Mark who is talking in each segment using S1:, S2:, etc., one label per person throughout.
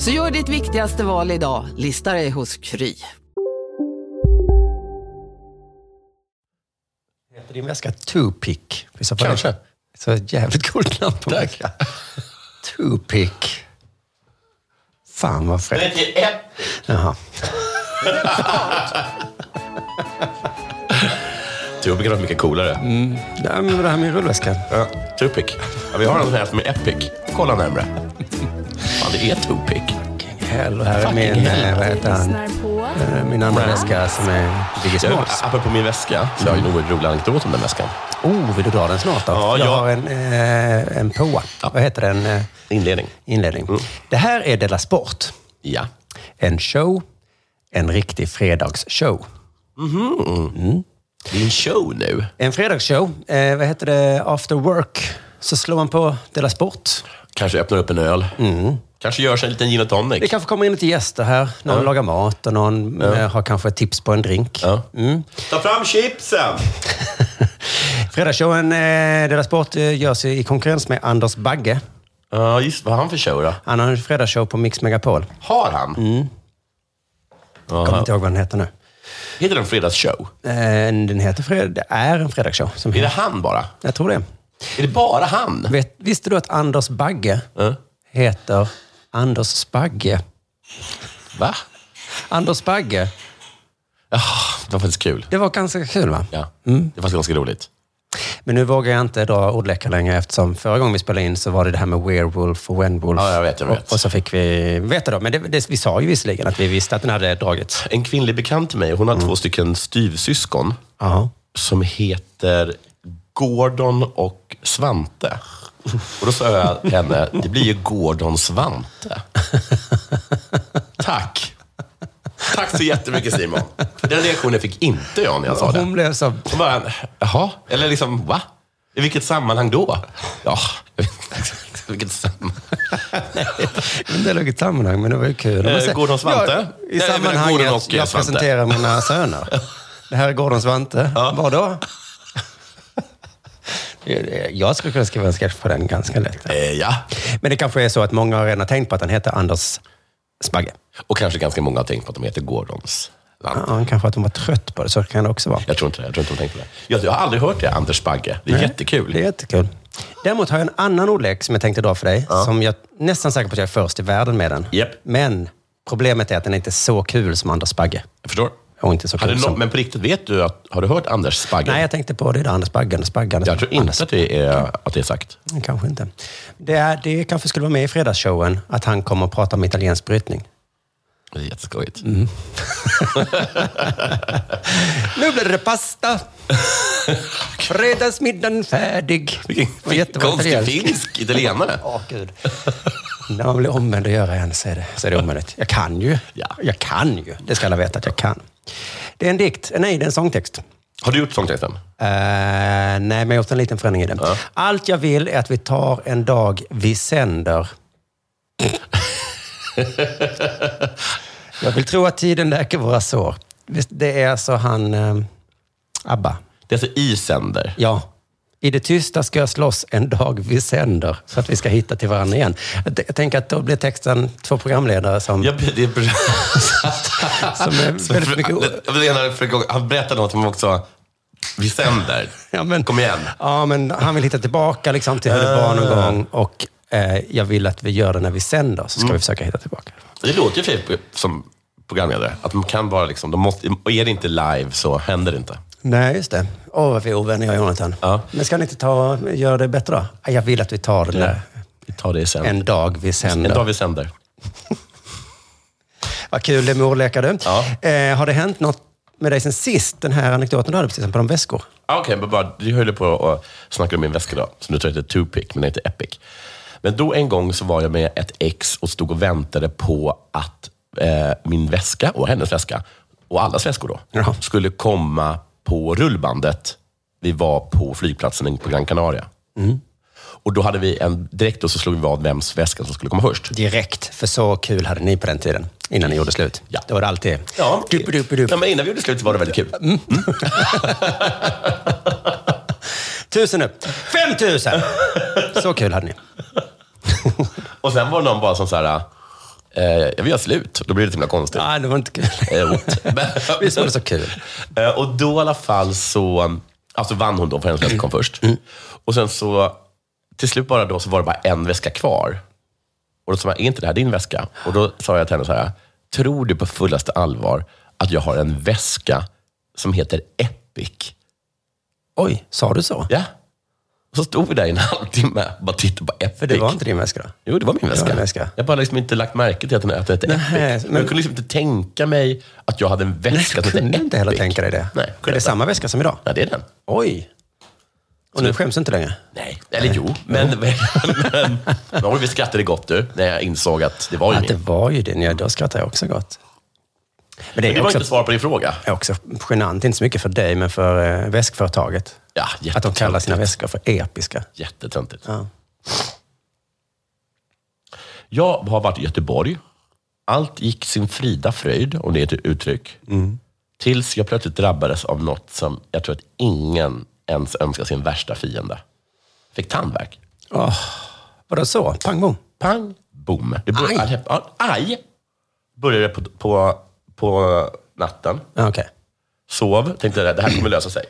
S1: Så gör ditt viktigaste val idag, listar dig hos Kry.
S2: Heter din väska Tupic?
S3: Kanske.
S2: Så ett jävligt coolt namn på
S3: Tack.
S2: väska. Tupic. Fan vad fräckt.
S4: Det är
S2: Jaha.
S3: Tupic är mycket coolare.
S2: Ja, men det här med rullväskan.
S3: Ja, Tupic. Ja, vi har en här som är Epic. Kolla närmre. Fan, det är Tupic.
S2: Hell, och här är
S3: Fucking
S2: min,
S3: hell.
S2: eh, vad heter han? Eh, Min andra väska som är Biggie
S3: Du,
S2: Smalls.
S3: apropå min väska, så har jag ju en oerhört rolig anekdot om den väskan.
S2: Oh, vill du dra den snart då?
S3: Ja,
S2: jag
S3: ja.
S2: har en, eh, en påa. Vad heter den? eh,
S3: Inledning.
S2: Inledning.
S3: Mm.
S2: Det här är Della Sport.
S3: Ja.
S2: En show. En riktig fredagsshow.
S3: Det är en show nu.
S2: En fredagsshow. Eh, vad heter det? After work. Så slår man på Della Sport.
S3: Kanske öppnar upp en öl. Kanske görs en liten gin och tonic.
S2: Det kanske kommer in lite gäster här. Någon lagar mat och någon eh, har kanske tips på en drink.
S3: Ja.
S2: Mm.
S4: Ta fram chipsen!
S2: Fredagsshowen eh, Della Sport eh, görs i konkurrens med Anders Bagge.
S3: Ja, just Vad har han för show då?
S2: Han har en fredagsshow på Mix Megapol.
S3: Har han?
S2: Kommer inte ihåg vad den heter nu.
S3: Heter den Fredagsshow?
S2: Eh, Den heter Fred... Det är en fredagsshow. Som
S3: Är det han bara?
S2: Jag tror det.
S3: Är det bara han?
S2: Vet, visste du att Anders Bagge heter Anders Spagge?
S3: Va?
S2: Anders Bagge.
S3: Ah, det var faktiskt kul.
S2: Det var ganska kul va?
S3: Ja. Det var ganska roligt.
S2: Men nu vågar jag inte dra ordlekar längre eftersom förra gången vi spelade in så var det det här med werewolf och wenwolf.
S3: Ja, jag vet, jag vet.
S2: Och, och så fick vi veta då. Men det, det, vi sa ju visserligen att vi visste att den hade dragits.
S3: En kvinnlig bekant till mig, hon har två stycken styvsyskon
S2: Ja.
S3: som heter Gordon och Svante. Och då sa jag till henne, det blir ju Gordon Svante. Tack. Tack så jättemycket Simon. För Den reaktionen fick inte jag när jag sa det.
S2: Hon
S3: Hon
S2: blev så...
S3: bara, jaha? Eller liksom, va? I vilket sammanhang då? Ja, jag vet inte exakt vilket sammanhang.
S2: Men det låg i ett sammanhang, men det var ju kul.
S3: Eh,
S2: Så-
S3: Gordon och Svante?
S2: Ja, I
S3: Eh, jag menar
S2: sammanhanget,
S3: Gordon
S2: jag,
S3: och, eh, Svante.
S2: presenterar mina söner. Det här är Gordon Svante. Vadå? Jag skulle kunna skriva en sketch på den ganska lätt.
S3: Eh, ja,
S2: Men det kanske är så att många har redan tänkt på att han heter Anders Spagge.
S3: och kanske ganska många har tänkt på att de heter Gordons Svante.
S2: Ja, kanske att de var trött på det, så kan det också vara.
S3: Jag tror inte det. Jag tror inte de tänker på det. Jag, jag har aldrig hört det, Anders Bagge. Det är jättekul.
S2: Det är jättekul. Däremot har jag en annan ordlek som jag tänkte dra för dig, som jag är nästan säker på att jag är först i världen med den.
S3: Japp.
S2: Men problemet är att den är inte så kul som Anders Bagge.
S3: Jag förstår.
S2: Och inte så
S3: Hade
S2: kul
S3: no-
S2: som...
S3: men på riktigt, vet du att, har du hört Anders Bagge?
S2: Nej, jag tänkte på det där Anders Bagge, Anders Bagge, Anders
S3: jag tror inte att det, är, att det är sagt.
S2: Nej, Kanske inte. Det, är, det kanske skulle vara med i fredagsshowen, att han kommer och pratar om italiensk brytning.
S3: Det är jätteskojigt.
S2: Mm. Nu blir det pasta! Fredagsmiddagen färdig. Och
S3: Vilken
S2: jättebra
S3: konstig
S2: italiensk.
S3: finsk italienare.
S2: Åh, gud. När man blir omvänd att göra en så är det, så är det omöjligt. Jag kan ju.
S3: Ja.
S2: Jag kan ju. Det ska alla veta att jag kan. Det är en dikt. Nej, det är en sångtext.
S3: Har du gjort sångtexten?
S2: Eh, nej, men jag har gjort en liten förändring i den. Allt jag vill är att vi tar en dag vi sänder. jag vill tro att tiden läker våra sår. Visst, Det är alltså han... eh, Abba.
S3: Det är alltså i sänder.
S2: Ja. I det tysta ska jag slåss en dag vi sänder, så att vi ska hitta till varandra igen. Jag t- Jag tänker att då blir texten två programledare som...
S3: Jag, det är,
S2: Som är
S3: Så
S2: väldigt
S3: för-
S2: mycket o-
S3: det- jag menar, för- han berättade något om också, vi sänder.
S2: Ja, men-
S3: Kom igen.
S2: Ja, men han vill hitta tillbaka liksom, till hur det var någon gång. Och Mm. eh, jag vill att vi gör det när vi sänder, så ska vi försöka hitta tillbaka.
S3: Det låter ju för sig som programledare. Att de kan vara liksom, de måste, och är det inte live så händer det inte.
S2: Nej, just det. Åh, vad vi är ovänner jag och Jonathan.
S3: Ja.
S2: Men ska ni inte ta, göra det bättre då? Ja, Jag vill att vi tar det där.
S3: Vi tar det sen.
S2: en dag vi sänder.
S3: en dag vi sänder.
S2: Vad kul det med ordlekar du.
S3: Ja.
S2: Eh, har det hänt något med dig sen sist? Den här anekdoten du hade precis, på de väskor.
S3: Ah, Okej, men bara, du höll på och snackade om min väska då, som du tror heter Tupic, men den heter Epic. Men då en gång så var jag med ett ex och stod och väntade på att eh, min väska och hennes väska, och allas väskor då,
S2: Jaha.
S3: skulle komma på rullbandet. Vi var på flygplatsen på Gran Canaria. Och då hade vi en, direkt då så slog vi vad vems väska som skulle komma först.
S2: Direkt, för så kul hade ni på den tiden. Innan ni gjorde slut.
S3: Ja.
S2: Då var det alltid...
S3: Ja,
S2: Dup, dup, dup.
S3: ja men innan vi gjorde slut så var det väldigt kul.
S2: Tusen upp! Fem tusen! så kul hade ni.
S3: Och sen var det någon bara som så här, eh, jag vill göra slut. Då blir det så himla konstigt.
S2: Nej, det var inte kul.
S3: Jo. Men-
S2: Visst var det så kul?
S3: Eh, Och då i alla fall så alltså vann hon då, för hennes väska kom först.
S2: Mm.
S3: Och sen så, till slut bara då, så var det bara en väska kvar. Och då sa jag, är inte det här din väska? Och då sa jag till henne så här, tror du på fullaste allvar att jag har en väska som heter Epic?
S2: Oj, sa du så?
S3: Ja. Och så stod vi där i en halvtimme och bara tittade på Epic.
S2: För det var inte din väska då?
S3: Jo, det var min väska.
S2: en väska.
S3: Jag har bara liksom inte lagt märke till att den att den hette Epic.
S2: Nej,
S3: men...
S2: men-
S3: Jag kunde liksom inte tänka mig att jag hade en väska
S2: Jag
S3: som hette
S2: kunde
S3: Epic.
S2: inte heller tänka dig det.
S3: Nej, kunde
S2: är det
S3: inte.
S2: samma väska som idag?
S3: Nej, det är den.
S2: Oj! Och nu skäms du inte längre?
S3: Nej, eller jo, men, men, men, men oj, vi skrattade gott du, när jag insåg att det var ju
S2: Att det
S3: min.
S2: var ju din. Ja, då skrattar jag också gott. Men det
S3: Det
S2: är
S3: var
S2: också,
S3: inte svar på din fråga.
S2: är också genant, inte så mycket för dig, men för eh, väskföretaget.
S3: Ja,
S2: Att de kallar sina
S3: jättetöntigt.
S2: väskor för episka.
S3: Jättetöntigt.
S2: Ja.
S3: Jag har varit i Göteborg. Allt gick sin frida fröjd, om det är ett uttryck.
S2: Mm.
S3: Tills jag plötsligt drabbades av något som jag tror att ingen ens önskar sin värsta fiende. Fick tandvärk.
S2: Vadå så? Pang bom.
S3: Pang, bom. Det bör-
S2: Aj.
S3: Ja, Aj! Började på, på, på natten.
S2: Ja, Okej.
S3: Sov, tänkte att det här kommer lösa sig.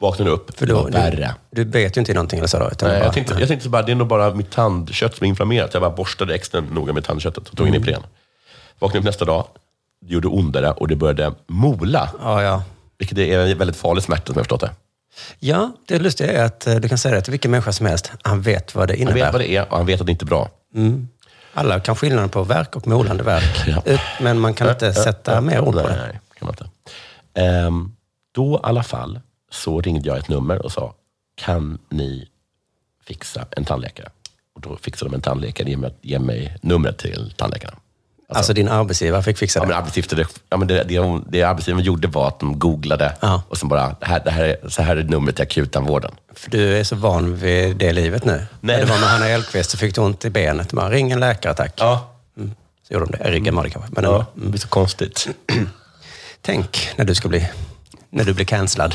S3: Vaknade upp,
S2: För
S3: det
S2: då,
S3: var värre.
S2: Du, du bet ju inte i någonting eller så då? Utan
S3: Nej,
S2: bara,
S3: jag, tänkte, jag tänkte så bara, det är nog bara mitt tandkött som är inflammerat. Jag bara borstade extra noga med tandköttet och tog in Ipren. Vaknade upp nästa dag, det gjorde ondare och det började mola.
S2: Ja, ja.
S3: Vilket är en väldigt farlig smärta som jag förstått det.
S2: Ja, det lustiga är att eh, du kan säga det till vilken människa som helst. Han vet vad det
S3: Han vet
S2: innebär.
S3: vad det är och han vet att det inte är bra.
S2: Alla kan skillnaden på verk och molande verk.
S3: Ja.
S2: Ut- Men man kan inte sätta mer ord på
S3: nej,
S2: det.
S3: nej, kan man inte. Ehm, då i alla fall så ringde jag ett nummer och sa, kan ni fixa en tandläkare? Och då fixade de en tandläkare genom att ge mig numret till tandläkaren.
S2: Alltså din arbetsgivare fick fixa
S3: Ja, men
S2: det.
S3: arbetsgivaren, ja, men det, det, hon- det arbetsgivaren gjorde var att de googlade
S2: Ja.
S3: och sen bara, det här, det här är, så här är numret till akutanvården.
S2: För du är så van vid det livet nu. När det var med Hanna Elfqvist så fick du ont i benet. Bara, ring en läkare tack.
S3: Ja. Mm.
S2: Så gjorde de det. Ryggen var det kanske. Men ändå. Mm.
S3: ja. Det blir så konstigt.
S2: tänk när du ska bli... När du blir cancellad.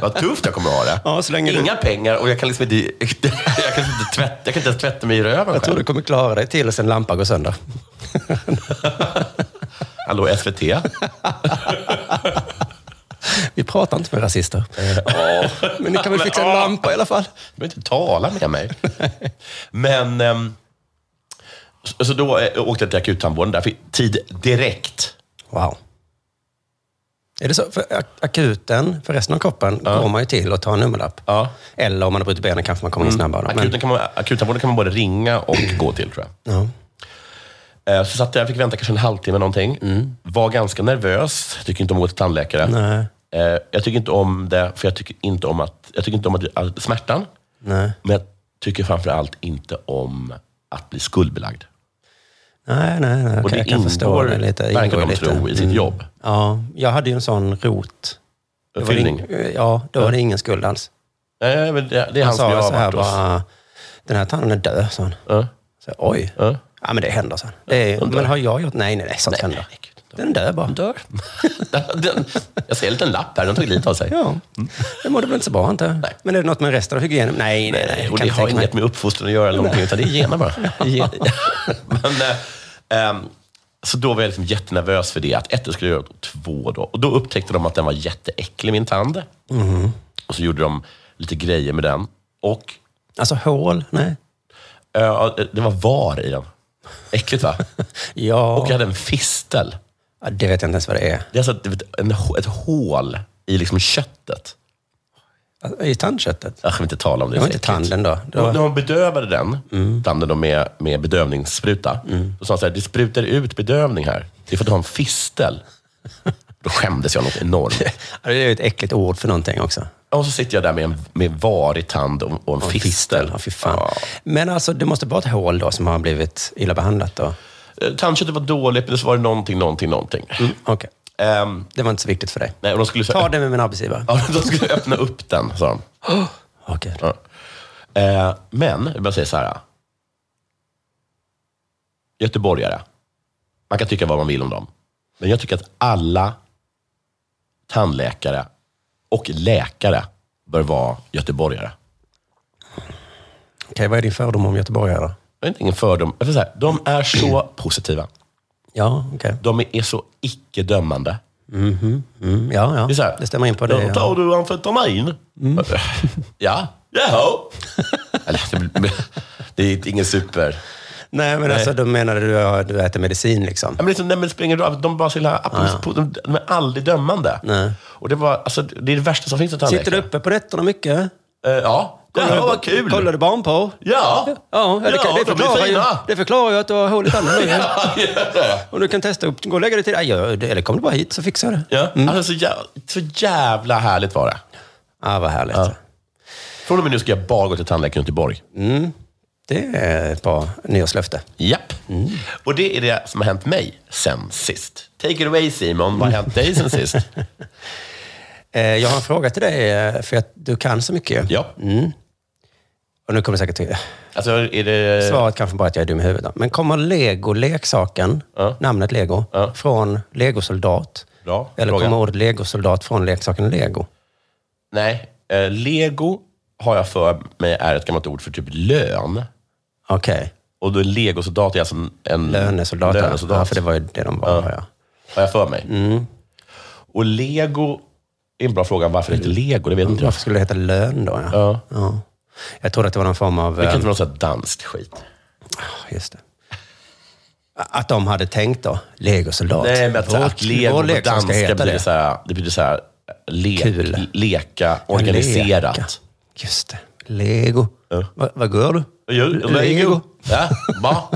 S3: Vad tufft jag kommer att ha det.
S2: Ja, så länge du-
S3: Inga pengar och jag kan liksom inte, jag kan liksom inte, tvätta, jag kan inte ens tvätta mig i röven
S2: Jag tror
S3: själv.
S2: du kommer klara dig till en lampa går sönder.
S3: Hallå SVT?
S2: Vi pratar inte med rasister. Men ni kan väl
S3: Eh, Men,
S2: fixa en
S3: ja.
S2: lampa i alla fall?
S3: Du behöver inte tala med mig. Men, ehm, så, så då eh, åkte jag till akuttandvården. Där fick tid direkt.
S2: Wow. Är det så? För ak- akuten, för resten av kroppen, går man ju till och tar en nummerlapp.
S3: Ja. Mm.
S2: Eller om man har brutit benen kanske man kommer in snabbare. Men, Mm.
S3: Akuten kan man, akuttandvården kan man både ringa och gå till tror jag.
S2: ja.
S3: Eh, Så satt jag, fick vänta kanske en halvtimme någonting. Var ganska nervös. Tycker inte om att gå till tandläkare.
S2: Mm. Nej.
S3: Eh, Jag tycker inte om det, för jag tycker inte om, att, jag tycker inte om att, att, smärtan.
S2: Nej.
S3: Men jag tycker framförallt inte om att bli skuldbelagd.
S2: Nej, nej, nej.
S3: Och
S2: Okej,
S3: det
S2: jag kan förstå
S3: ingår,
S2: det lite. Det
S3: verkar
S2: ingår
S3: de
S2: lite. Mm.
S3: tro, i sitt jobb.
S2: Ja, jag hade ju en sån rot. Det var
S3: Fyllning.
S2: ing- eh, ja, då var det ingen skuld alls.
S3: Nej, men det, det är han,
S2: Han
S3: som jag
S2: sa så
S3: har
S2: här
S3: varit hos.
S2: bara, den här tanden är död, sa han.
S3: Ja.
S2: Så, oj.
S3: Ja.
S2: Ja, men det händer, så. Det är, men har jag gjort... Nej, nej, nej, sånt händer.
S3: nej, gud,
S2: Den dör bara.
S3: Dör. Den- jag ser en liten lapp här, den tog lite av sig.
S2: Ja, det mådde väl inte så bra inte.
S3: Nej.
S2: Men är det något med resten av hygienen? Nej, nej, nej.
S3: Och
S2: kan
S3: det
S2: inte
S3: har
S2: tänka mig.
S3: inget med uppfostran att göra eller någonting, utan det är gener bara. Men, eh, ehm, så då var jag liksom jättenervös för det, att ett, det skulle jag göra och två då. Och då upptäckte de att den var jätteäcklig, min tand.
S2: Mm-hmm.
S3: Och så gjorde de lite grejer med den. Och
S2: Alltså hål? Nej.
S3: eh, det var var i den. Äckligt va?
S2: Ja,
S3: Och jag hade en fistel.
S2: ja, det vet jag inte ens vad det är.
S3: Det är alltså ett, ett, en, ett hål i liksom köttet.
S2: Alltså, I tandköttet?
S3: Jag ska inte tala om det.
S2: Det var inte
S3: det är äckligt.
S2: tanden då. Det
S3: Och
S2: var,
S3: När man bedövade den, tanden då med, med bedövningsspruta, då sa han så här, det sprutar ut bedövning här. Det är för att du har en fistel. Då skämdes jag något enormt.
S2: Ja, det är ju ett äckligt ord för någonting också.
S3: Och så sitter jag där med en med varig tand och, och en fistel.
S2: Ja, fy fan. Men alltså, det måste vara ett hål då som har blivit illa behandlat då?
S3: Eh, Tandköttet var dåligt, men så var det någonting, någonting, någonting.
S2: Okej,
S3: Ehm,
S2: det var inte så viktigt för dig.
S3: nej, och de skulle, så
S2: Mm. Ta det med min arbetsgivare.
S3: Ja, de skulle öppna upp den, sa de.
S2: Åh, gud.
S3: Ja. Eh, men, jag bara säger så här. Göteborgare. Man kan tycka vad man vill om dem. Men jag tycker att alla tandläkare och läkare bör vara göteborgare.
S2: Okej, vad är din fördom om göteborgare då?
S3: Jag har inte ingen fördom. Jag får säga, de är så positiva.
S2: Ja, okej.
S3: De är så icke-dömande.
S2: Mm, ja, ja.
S3: Det är så här.
S2: stämmer in på det.
S3: Ja, Tar
S2: Ja. Mm.
S3: du amfetamin? Ja. Jaha. Eller, det, blir- det är ingen super...
S2: Nej, men alltså då menade du att du äter medicin liksom?
S3: Ja, men liksom, nej, men det spelar ingen roll. De bara så himla, de, de är aldrig dömande.
S2: Nej.
S3: Och det, var, alltså, det är det värsta som finns att
S2: Sitter du uppe på nätterna mycket?
S3: Eh, ja. Ja,
S2: du-
S3: vad kul!
S2: Kollar du barn på?
S3: Ja!
S2: Ja, det, det,
S3: Ja, de är
S2: förklarar ju,
S3: fina!
S2: det förklarar ju att du har hål i tanden nu. ju.
S3: Ja, gör det.
S2: Och du kan testa upp, gå och lägga dig till. Ja, gör det. eller kom du bara hit så fixar jag det.
S3: Ja. Alltså, så, jävla, så jävla härligt var det.
S2: Ah, vad härligt.
S3: Från och med nu ska jag bara gå till tandläkaren i Göteborg.
S2: Det är ett bra nyårslöfte.
S3: Japp. Och det är det som har hänt mig sen sist. Take it away Simon, vad har hänt dig sen sist?
S2: Eh, jag har en fråga till dig, eh, för att du kan så mycket.
S3: ja.
S2: Och nu kommer säkert till.
S3: Mm. Alltså, är det...
S2: Svaret kanske bara att jag är dum i huvudet. Men kommer Lego-leksaken,
S3: Ja.
S2: namnet Lego,
S3: Ja.
S2: från Legosoldat?
S3: Bra
S2: Eller
S3: fråga.
S2: kommer ordet Legosoldat från leksaken Lego?
S3: Nej. Eh, Lego har jag för mig är ett gammalt ord för typ lön.
S2: Okej.
S3: Och då är legosoldat är alltså en- en
S2: Lönesoldat. ja.
S3: lönesoldat.
S2: Ja, för det var Mm. ju det de var. Ja. Ja.
S3: Har jag för mig. Och lego, är en bra fråga varför det heter lego, det vet inte jag.
S2: Varför skulle det heta lön då? Ja.
S3: Ja.
S2: Ja. Jag trodde att det var någon form av...
S3: Det kan
S2: eh,
S3: inte vara något sånt här danskt skit.
S2: Just det. Att de hade tänkt då, legosoldat.
S3: Nej, men att, så här,
S2: Vår-
S3: att lego
S2: vår
S3: på
S2: leksak
S3: danska betyder
S2: det.
S3: så här, det betyder så här, lek,
S2: Kul.
S3: leka,
S2: Ja,
S3: organiserat.
S2: leka. Just det. Lego. Va, vad gör du?
S3: Jo,
S2: Lego.
S3: Ja, va?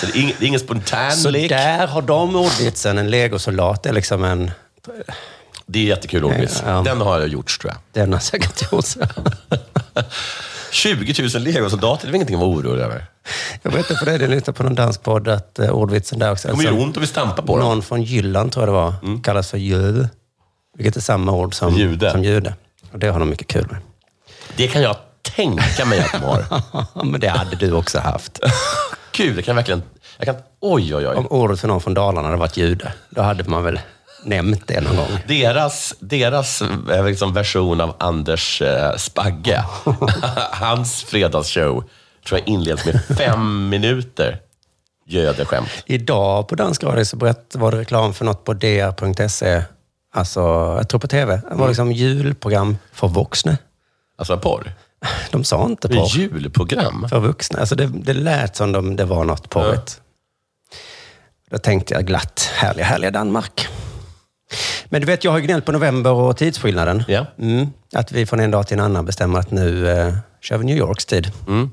S3: Så det är ing- det är ingen spontan
S2: Så
S3: lek.
S2: där har de ordvitsen. En legosoldat är liksom en...
S3: Det är jättekul ordvits.
S2: Ja, ja.
S3: Den har jag gjort tror jag.
S2: Den har säkert gjort så.
S3: 20 000 legosoldater, det är ingenting att vara orolig över.
S2: Jag berättade för dig, det lyssnade på någon danspodd, att eh, ordvitsen där också.
S3: Det kommer göra ont om vi stampar på dem.
S2: någon från Jylland, tror jag det var, kallas för jude. Vilket är samma ord som
S3: Jude.
S2: Som jude. Och det har de mycket kul med.
S3: Det kan jag tänka mig att de har.
S2: Men det hade du också haft.
S3: Gud, det kan jag verkligen... Jag kan, oj, oj, oj.
S2: Om ordet för någon från Dalarna hade varit jude, då hade man väl nämnt det någon gång.
S3: Deras, deras eh, liksom version av Anders eh, Spagge, hans fredagsshow, tror jag inleds med fem minuter gödeskämt.
S2: Idag på Dansk Radio så berätt, var det reklam för något på dr.se. Alltså, jag tror på tv.
S3: Mm.
S2: Det var liksom julprogram för vuxna.
S3: Alltså porr.
S2: De sa inte
S3: Det är
S2: på
S3: Julprogram.
S2: för vuxna. Alltså det, det lät som om det var något porrigt. Då tänkte jag glatt, härliga, härliga Danmark. Men du vet, jag har ju gnällt på november och tidsskillnaden.
S3: Ja.
S2: Mm, att vi från en dag till en annan bestämmer att nu eh, kör vi New Yorks tid.
S3: Mm.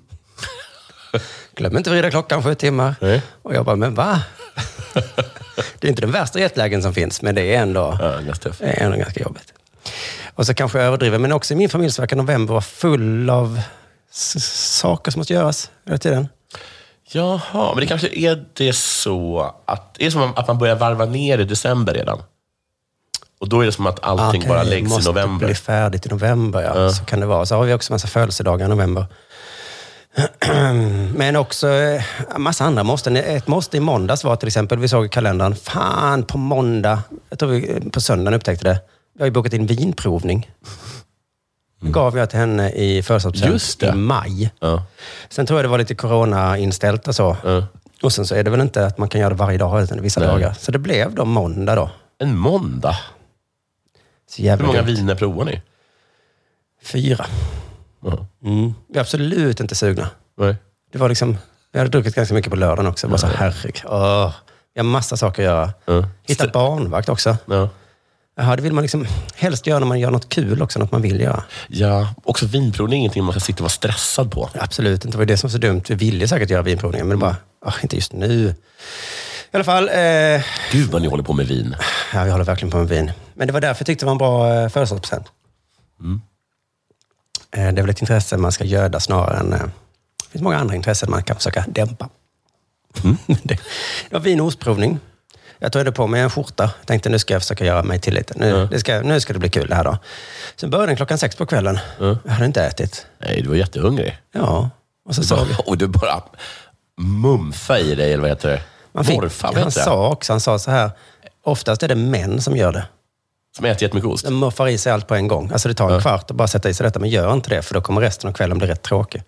S2: Glöm inte att vrida klockan sju timmar.
S3: Nej.
S2: Och jag bara, men va? det är inte den värsta jetlagen som finns, men det är ändå...
S3: Ja, ganska tufft.
S2: Det är ändå ganska jobbigt. Och så kanske jag överdriver, men också i min familj så verkar november vara full av s- saker som måste göras hela tiden.
S3: Jaha, men det kanske är det så att... Det är som att man börjar varva ner i december redan. Och då är det som att allting
S2: Okej,
S3: bara läggs i
S2: måste typ bli
S3: november.
S2: färdigt i november, ja. Så kan det vara. Så har vi också massa födelsedagar i november. Men också eh, massa andra måsten. Ett måste i måndags var till exempel, vi såg i kalendern, fan på måndag, jag tror vi eh, på söndagen upptäckte det, vi har ju bokat in vinprovning. Det gav jag till henne i
S3: Mm. Just
S2: födelsedagspresent
S3: det.
S2: i maj.
S3: Ja.
S2: Sen tror jag det var lite corona-inställt och så. Och sen så är det väl inte att man kan göra det varje dag, utan vissa dagar. Så det blev då måndag då.
S3: En måndag.
S2: Så jävla
S3: Hur många
S2: gött.
S3: viner provar ni?
S2: Fyra.
S3: Ja.
S2: Vi är absolut inte sugna.
S3: Nej.
S2: Det var liksom Vi hade druckit ganska mycket på lördagen också. Bara så, herregud. Åh. Vi har massa saker att göra. Hitta barnvakt också.
S3: Ja.
S2: Jaha, det vill man liksom helst göra när man gör något kul också, något man vill göra.
S3: ja, också vinprovning är ingenting man ska sitta och vara stressad på.
S2: Absolut inte. Det var ju det som var så dumt. Vi ville säkert göra vinprovningen, men bara, ah, inte just nu. I alla fall, eh, ja,
S3: Gud vad ni håller på med vin.
S2: vi håller verkligen på med vin. Men det var därför jag tyckte det var en bra eh, födelsedagspresent.
S3: Mm.
S2: Eh, det är väl ett intresse man ska göda snarare än... Eh, det finns många andra intressen man kan försöka dämpa.
S3: Mm.
S2: det, det var vin och ostprovning. Jag tog på mig en skjorta. Tänkte nu ska jag försöka göra mig till lite. Nu, det ska, nu ska det bli kul det här då. Sen började den klockan sex på kvällen. Jag hade inte ätit.
S3: Nej, du var jättehungrig.
S2: Ja, och så sa vi...
S3: Och du bara mumfa i dig, eller vad heter det?
S2: Man fick,
S3: Morfa,
S2: han
S3: vet jag.
S2: sa också, han sa så här, oftast är det män som gör det.
S3: Som äter jättemycket ost.
S2: De muffar i sig allt på en gång. Alltså det tar en kvart att bara sätta i sig detta, men gör inte det för då kommer resten av kvällen bli rätt tråkig.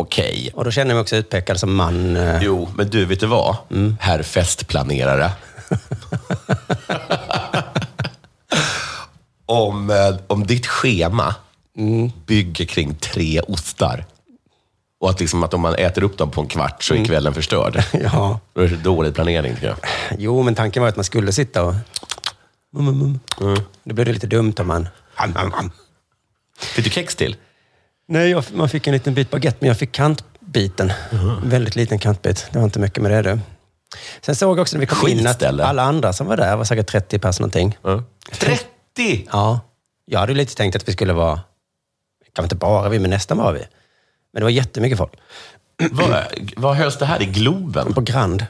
S3: Okej.
S2: Och då känner jag mig också utpekad som man. eh,
S3: Jo, men du, vet du vad?
S2: Mm.
S3: Herr festplanerare. om, eh, om ditt schema
S2: Mm.
S3: bygger kring tre ostar och att, liksom att om man äter upp dem på en kvart så är
S2: Mm.
S3: kvällen förstörd.
S2: Ja.
S3: Då är det dålig planering, tycker jag.
S2: Jo, men tanken var att man skulle sitta och... Mm, mm, mm. Det blev det lite dumt om man...
S3: Am, am, am. Fick du kex till?
S2: Nej, jag, man fick en liten bit baguette, men jag fick kantbiten. En väldigt liten kantbit. Det var inte mycket med det du. Sen såg jag också när vi kom in att
S3: Skitställe.
S2: alla andra som var där var säkert 30 pers någonting.
S3: 30!
S2: Ja, jag hade ju lite tänkt att vi skulle vara, kanske inte bara vi, men nästan var vi. Men det var jättemycket folk.
S3: Vad, vad hölls det här i Globen?
S2: På Grand.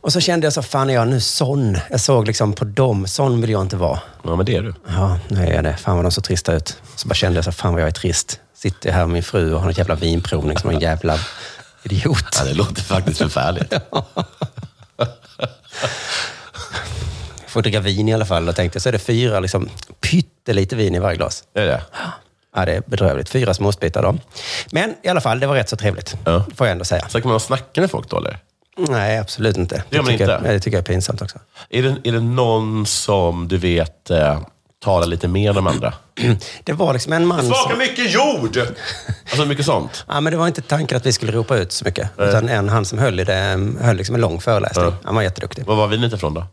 S2: Och så kände jag så, fan är jag nu sån? Jag såg liksom på dem, sån vill jag inte vara.
S3: Ja, men det är du.
S2: Ja, nu är jag det. Fan vad de så trista ut. Så bara kände jag så, fan vad jag är trist. Sitter här med min fru och har en jävla vinprovning som en jävla idiot.
S3: Ja, det låter faktiskt förfärligt.
S2: Jag får dricka vin i alla fall. Och tänkte, så är det fyra, liksom pyttelite vin i varje glas.
S3: Det är det.
S2: Ja, det är bedrövligt. Fyra småsbitar då. Men i alla fall, det var rätt så trevligt.
S3: Ja.
S2: Får jag ändå säga.
S3: Så kan man vara snackande med folk då, eller?
S2: Nej, absolut inte.
S3: Det gör man
S2: tycker
S3: inte.
S2: Jag, nej, det tycker jag är pinsamt också.
S3: Är det, är det någon som du vet eh, talar lite mer än de andra?
S2: Det var liksom en man som...
S3: mycket jord! Alltså mycket sånt.
S2: Ja, men det var inte tanken att vi skulle ropa ut så mycket. Utan en, han som höll i det, um, höll liksom en lång föreläsning. Han var jätteduktig.
S3: Var var vinet ifrån då?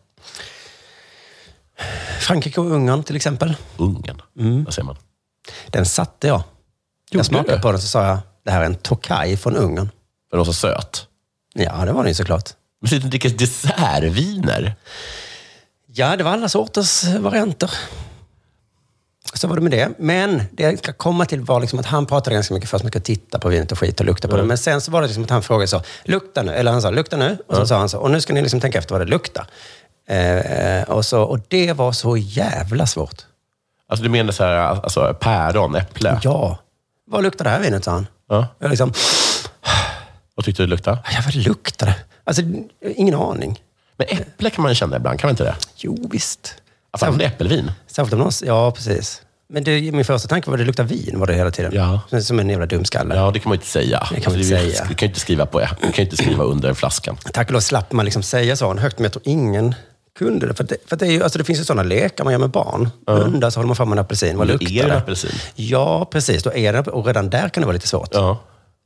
S2: Frankrike och Ungern till exempel.
S3: Ungern. Vad säger man?
S2: Den satte jag.
S3: Gjorde
S2: jag smakade
S3: du?
S2: på den så sa jag, det här är en Tokaj från Ungern.
S3: För de var så söt.
S2: Ja, det var den ju såklart.
S3: Men sitter och dricker dessertviner.
S2: Ja, det var alla sorters varianter. Så var det med det. Men det jag ska komma till var liksom att han pratade ganska mycket först. Man ska titta på vinet och skit och lukta på det. Men sen så var det liksom att han frågade så, lukta nu. Eller han sa, lukta nu. Och så sa han så, och nu ska ni liksom tänka efter vad det luktar. Eh, eh, och, så, och det var så jävla svårt.
S3: Alltså du menar så här, alltså, päron, äpple?
S2: Ja. Vad luktar det här vinet, sa han.
S3: Ja.
S2: Jag liksom,
S3: Vad tyckte du det luktade?
S2: ja vad luktar det? Alltså, ingen aning.
S3: Men äpple kan man ju känna ibland, kan man inte det?
S2: Jo, visst.
S3: Alltså, om det är äppelvin.
S2: Särskilt om någon... Ja, precis. Men det, min första tanke var att det luktar vin var det hela tiden.
S3: Ja.
S2: Som- Som en jävla dumskalle.
S3: Ja, det kan man ju inte säga.
S2: Det kan man inte
S3: Alltså,
S2: säga.
S3: Du kan ju inte skriva, på, du kan ju inte skriva under flaskan.
S2: Tack och lov slapp man liksom säga så högt, men jag tror ingen kunde det. För, det, för det, är ju, alltså det finns ju sådana lekar man gör med barn. Hundar, så håller man fram en apelsin. Vad
S3: Men då är
S2: luktar
S3: det en
S2: det?
S3: apelsin.
S2: Ja, precis. Då är det, och redan där kan det vara lite svårt.
S3: Ja.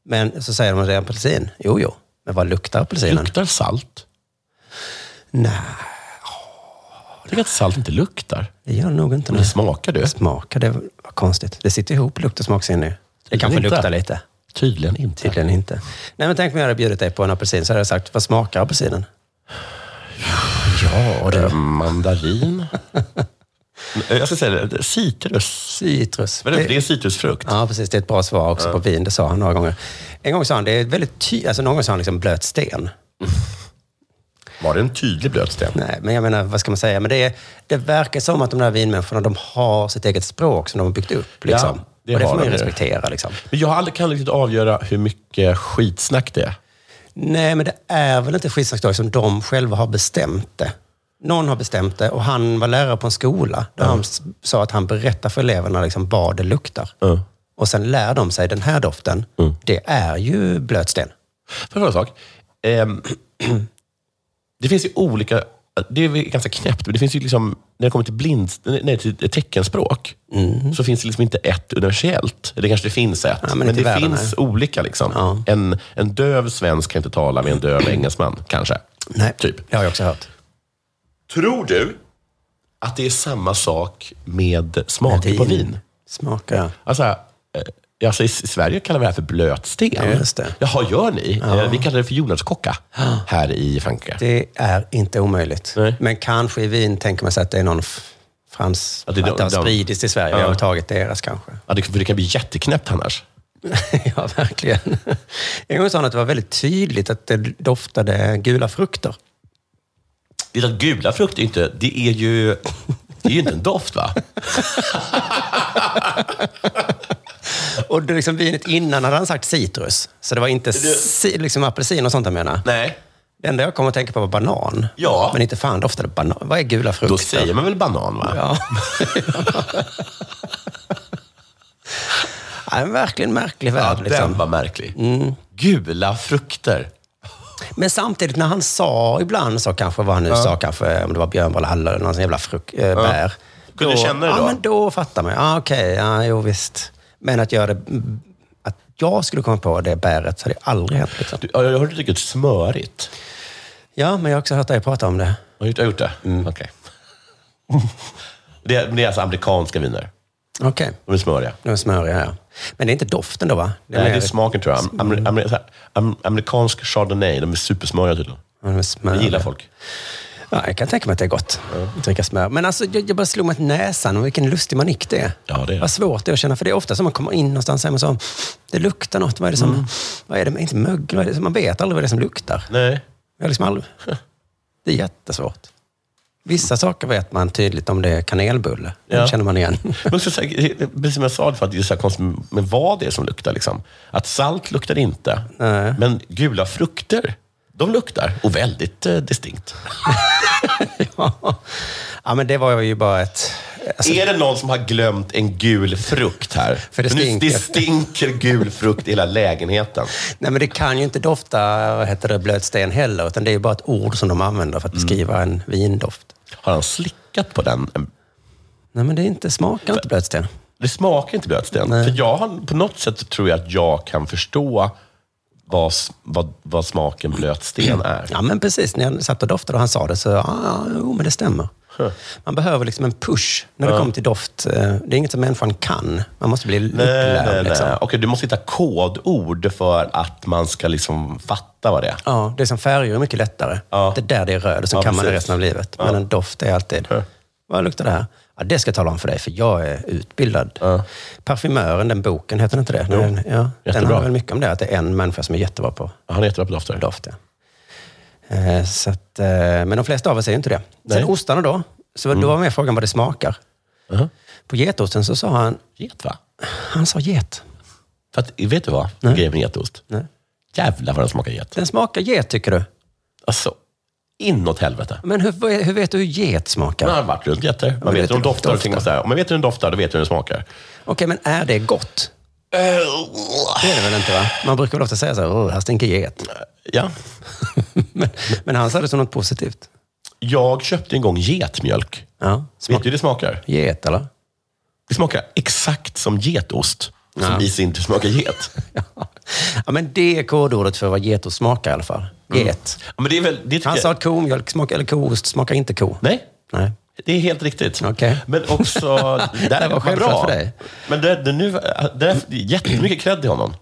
S2: Men så säger man att det är apelsin. Jo, jo. Men vad luktar apelsinen?
S3: Luktar salt?
S2: Nej,
S3: Jag tycker att salt inte luktar.
S2: det gör det nog inte.
S3: Men det smakar du.
S2: Smakar, det var konstigt. Det sitter ihop lukt och smaksinne. Det kanske
S3: inte.
S2: luktar lite.
S3: Tydligen inte.
S2: Tydligen inte. Nej, men tänk om jag hade bjudit dig på en apelsin så hade jag sagt, vad smakar apelsinen? Ja, och det
S3: Eh, Mandarin. Eh, Jag ska säga det, citrus.
S2: citrus.
S3: Vad är det? för- Det är en citrusfrukt.
S2: Ja, precis. Det är ett bra svar också på vin. Det sa han några gånger. En gång sa han, det är väldigt ty... Alltså någon gång sa han liksom blöt sten.
S3: Var det en tydlig blöt sten?
S2: Nej, men jag menar, vad ska man säga? Men det, är, det verkar som att de där vinmänniskorna, de har sitt eget språk som de har byggt upp. Liksom.
S3: Ja,
S2: det
S3: det
S2: och det
S3: har
S2: får man ju
S3: de ju.
S2: respektera. Liksom.
S3: Men jag har aldrig, kan riktigt avgöra hur mycket skitsnack det är.
S2: Nej, men det är väl inte skitsnacksdag som de själva har bestämt det. Någon har bestämt det och han var lärare på en skola där han s- sa att han berättar för eleverna liksom vad det luktar. Och sen lär de sig den här doften.
S3: Mm.
S2: Det är ju blötsten.
S3: För en sak. Ehm, det finns ju olika det är väl ganska knäppt, men det finns ju liksom, när det kommer till, blind, nej, till teckenspråk, så finns det liksom inte ett universellt. Eller kanske det finns ett,
S2: Mhm. Ja, men
S3: men,
S2: inte
S3: det
S2: världen,
S3: finns olika. liksom. En, en döv svensk kan inte tala med en döv engelsman, kanske.
S2: Nej,
S3: Typ.
S2: det har jag också hört.
S3: Tror du att det är samma sak med smaker på vin?
S2: Smaka.
S3: Alltså, eh, alltså i i Sverige kallar vi det här för blötsten.
S2: Ja, just det.
S3: Jaha, gör ni? Eh, Vi kallar det för jordnötskocka här i Frankrike.
S2: Det är inte omöjligt.
S3: Nej.
S2: Men kanske i vin tänker man sig att det är någon f- frans... Att
S3: Att
S2: det,
S3: det-
S2: har
S3: de-
S2: spridits till Sverige
S3: Ja.
S2: överhuvudtaget, deras kanske.
S3: Ja, det, för det kan bli jätteknäppt annars.
S2: ja, verkligen. En gång sa han att det var väldigt tydligt att det doftade gula frukter.
S3: Det är att gula frukter är inte, det är ju, det är ju inte en doft va?
S2: Och det liksom vinet innan hade han sagt citrus. Så det var inte ci, liksom apelsin och sånt jag menar.
S3: Nej.
S2: Det enda jag kom att tänka på var banan.
S3: Ja.
S2: Men inte fan doftade banan. Vad är gula frukter?
S3: Då säger man väl banan va?
S2: Ja. Ja, en verkligen märklig
S3: Ja,
S2: värld.
S3: den
S2: liksom.
S3: var märklig. Gula frukter.
S2: Men samtidigt när han sa ibland, så kanske vad han nu sa, kanske om det var björnboll, hallon eller någon sån jävla fruk, äh, bär.
S3: Kunde du känna det
S2: Ja,
S3: då?
S2: men då fattar man. Ja, okej. ja, jo, visst. Men att göra det... Att jag skulle komma på det bäret så hade det aldrig hänt. Liksom.
S3: Du, ja, jag hörde att du tycker det är smörigt.
S2: Ja, men jag har också hört dig prata om det.
S3: Har du gjort- har du gjort det? Mm. Okej. Det, är- det är alltså amerikanska viner.
S2: Okej.
S3: De är smöriga.
S2: De är smöriga, ja. Men det är inte doften då, va? är
S3: Nej,
S2: mer-
S3: det är smaken tror jag. Am, amer-
S2: Mm.
S3: amer- så här, am, amerikansk chardonnay, de är supersmöriga tydligen.
S2: Ja, de är
S3: Det
S2: smöriga.
S3: gillar folk.
S2: Ja, jag kan tänka mig att det är gott att dricka smör. Men alltså, jag, jag bara slog mig till näsan och vilken lustig manick det är.
S3: Ja, det är det.
S2: Vad svårt det är att känna. För det är ofta som man kommer in någonstans och så, det luktar något. Vad är det
S3: Mm.
S2: som... Vad är det? Inte mögel. Vad är det? som- Man vet aldrig vad det är som luktar.
S3: Nej.
S2: Jag har liksom aldrig, det är jättesvårt. Vissa saker vet man tydligt om det är kanelbulle. Den
S3: Ja.
S2: känner man igen.
S3: Men så, så här, det- det- precis som jag sa, det för att det är så här konstigt med vad det är som luktar. Liksom. Att salt luktar inte,
S2: Nej.
S3: men gula frukter, de luktar. Och väldigt eh, distinkt.
S2: ja, men det var ju bara ett... Alltså,
S3: är det någon som har glömt en gul frukt här?
S2: För det
S3: nu-
S2: stinker.
S3: det stinker gul frukt i hela lägenheten.
S2: nej, men det kan ju inte dofta vad heter det, blötsten heller, utan det är ju bara ett ord som de använder för att
S3: Mm.
S2: beskriva en vindoft.
S3: Har han slickat på den? eh,
S2: Nej, men det är inte, smakar inte blötsten.
S3: Det smakar inte blötsten.
S2: Nej.
S3: För jag har, på något sätt tror jag att jag kan förstå vad, s- vad, vad smaken blötsten är.
S2: Ja, men precis. När jag satt och doftade och han sa det så, ja, ja, jo, men det stämmer. Man behöver liksom en push när det kommer till doft. Eh, Det är inget som människan kan. Man måste bli
S3: Nej, nej,
S2: upplärd.
S3: nej.
S2: Liksom.
S3: Okej, du måste hitta kodord för att man ska liksom fatta vad det är.
S2: Ja, det är som färger är mycket lättare.
S3: Ja.
S2: Det där det är röd och sen
S3: Ja,
S2: kan man det
S3: precis.
S2: resten av livet. Men en doft är alltid... Vad luktar det här? Ja, det ska jag tala om för dig, för jag är utbildad. Parfymören, den boken, heter den inte det? Den, ja, den
S3: Jättebra.
S2: har väl mycket om det, att det är en människa som är jättebra på
S3: Han är jättebra på dofter.
S2: doft. Ja. Eh, så att, eh, men de flesta av oss är ju inte det.
S3: Nej. Mm.
S2: Sen ostarna då, så då var med frågan vad det smakar.
S3: Mhm.
S2: På getosten så sa han,
S3: Get va?
S2: han sa get.
S3: För att, vet du vad grejen med getost?
S2: Nej.
S3: Jävlar vad den smakar get.
S2: Den smakar get tycker du.
S3: Alltså, inåt helvete.
S2: Men hur, vad är- hur vet du hur get smakar?
S3: Man har varit runt getter. Man
S2: men
S3: vet hur de
S2: doftar
S3: doftar. och tänker man
S2: ofta.
S3: så här, Om man vet hur den doftar, då vet du hur den smakar.
S2: Okej, men är det gott? Det är det väl inte va? Man brukar väl ofta säga så här, "Åh, här stinker get.
S3: Ja.
S2: men, men han sa det som något positivt.
S3: Jag köpte en gång getmjölk.
S2: Ja,
S3: Vet du
S2: smak
S3: hur det smakar?
S2: get eller?
S3: Det smakar exakt som getost, som
S2: Ja.
S3: i sin tur smakar get.
S2: ja, men det är kodordet för vad getost smakar i alla fall. Get.
S3: Ja, men det är väl, det tycker
S2: Han
S3: jag-
S2: sa att komjölk smakar, eller koost smakar inte ko.
S3: Nej,
S2: Nej.
S3: Det är helt riktigt.
S2: Okej.
S3: Men också...
S2: Det
S3: där
S2: var
S3: var
S2: självklart
S3: bra.
S2: för dig.
S3: Men det, det nu, det är jättemycket cred till honom.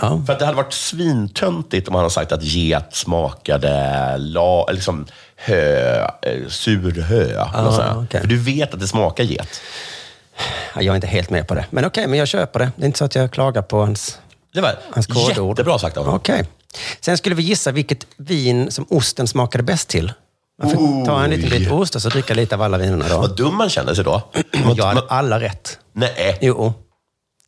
S2: Ja.
S3: För att det hade varit svintöntigt om han hade sagt att get smakade la, liksom, hö, eh, sur hö. eller så här.
S2: okej.
S3: För du vet att det smakar get.
S2: Ja, jag är inte helt med på det. Men okej, men jag köper det. Det är inte så att jag klagar på hans...
S3: Det var
S2: Hans kodord.
S3: jättebra sagt av honom.
S2: Okej. Sen skulle vi gissa vilket vin som osten smakade bäst till. Man får ta en liten bit ost och så dricka lite av alla vinerna då.
S3: Vad dum man kände sig då.
S2: Jag hade alla rätt.
S3: Nej.
S2: Jo.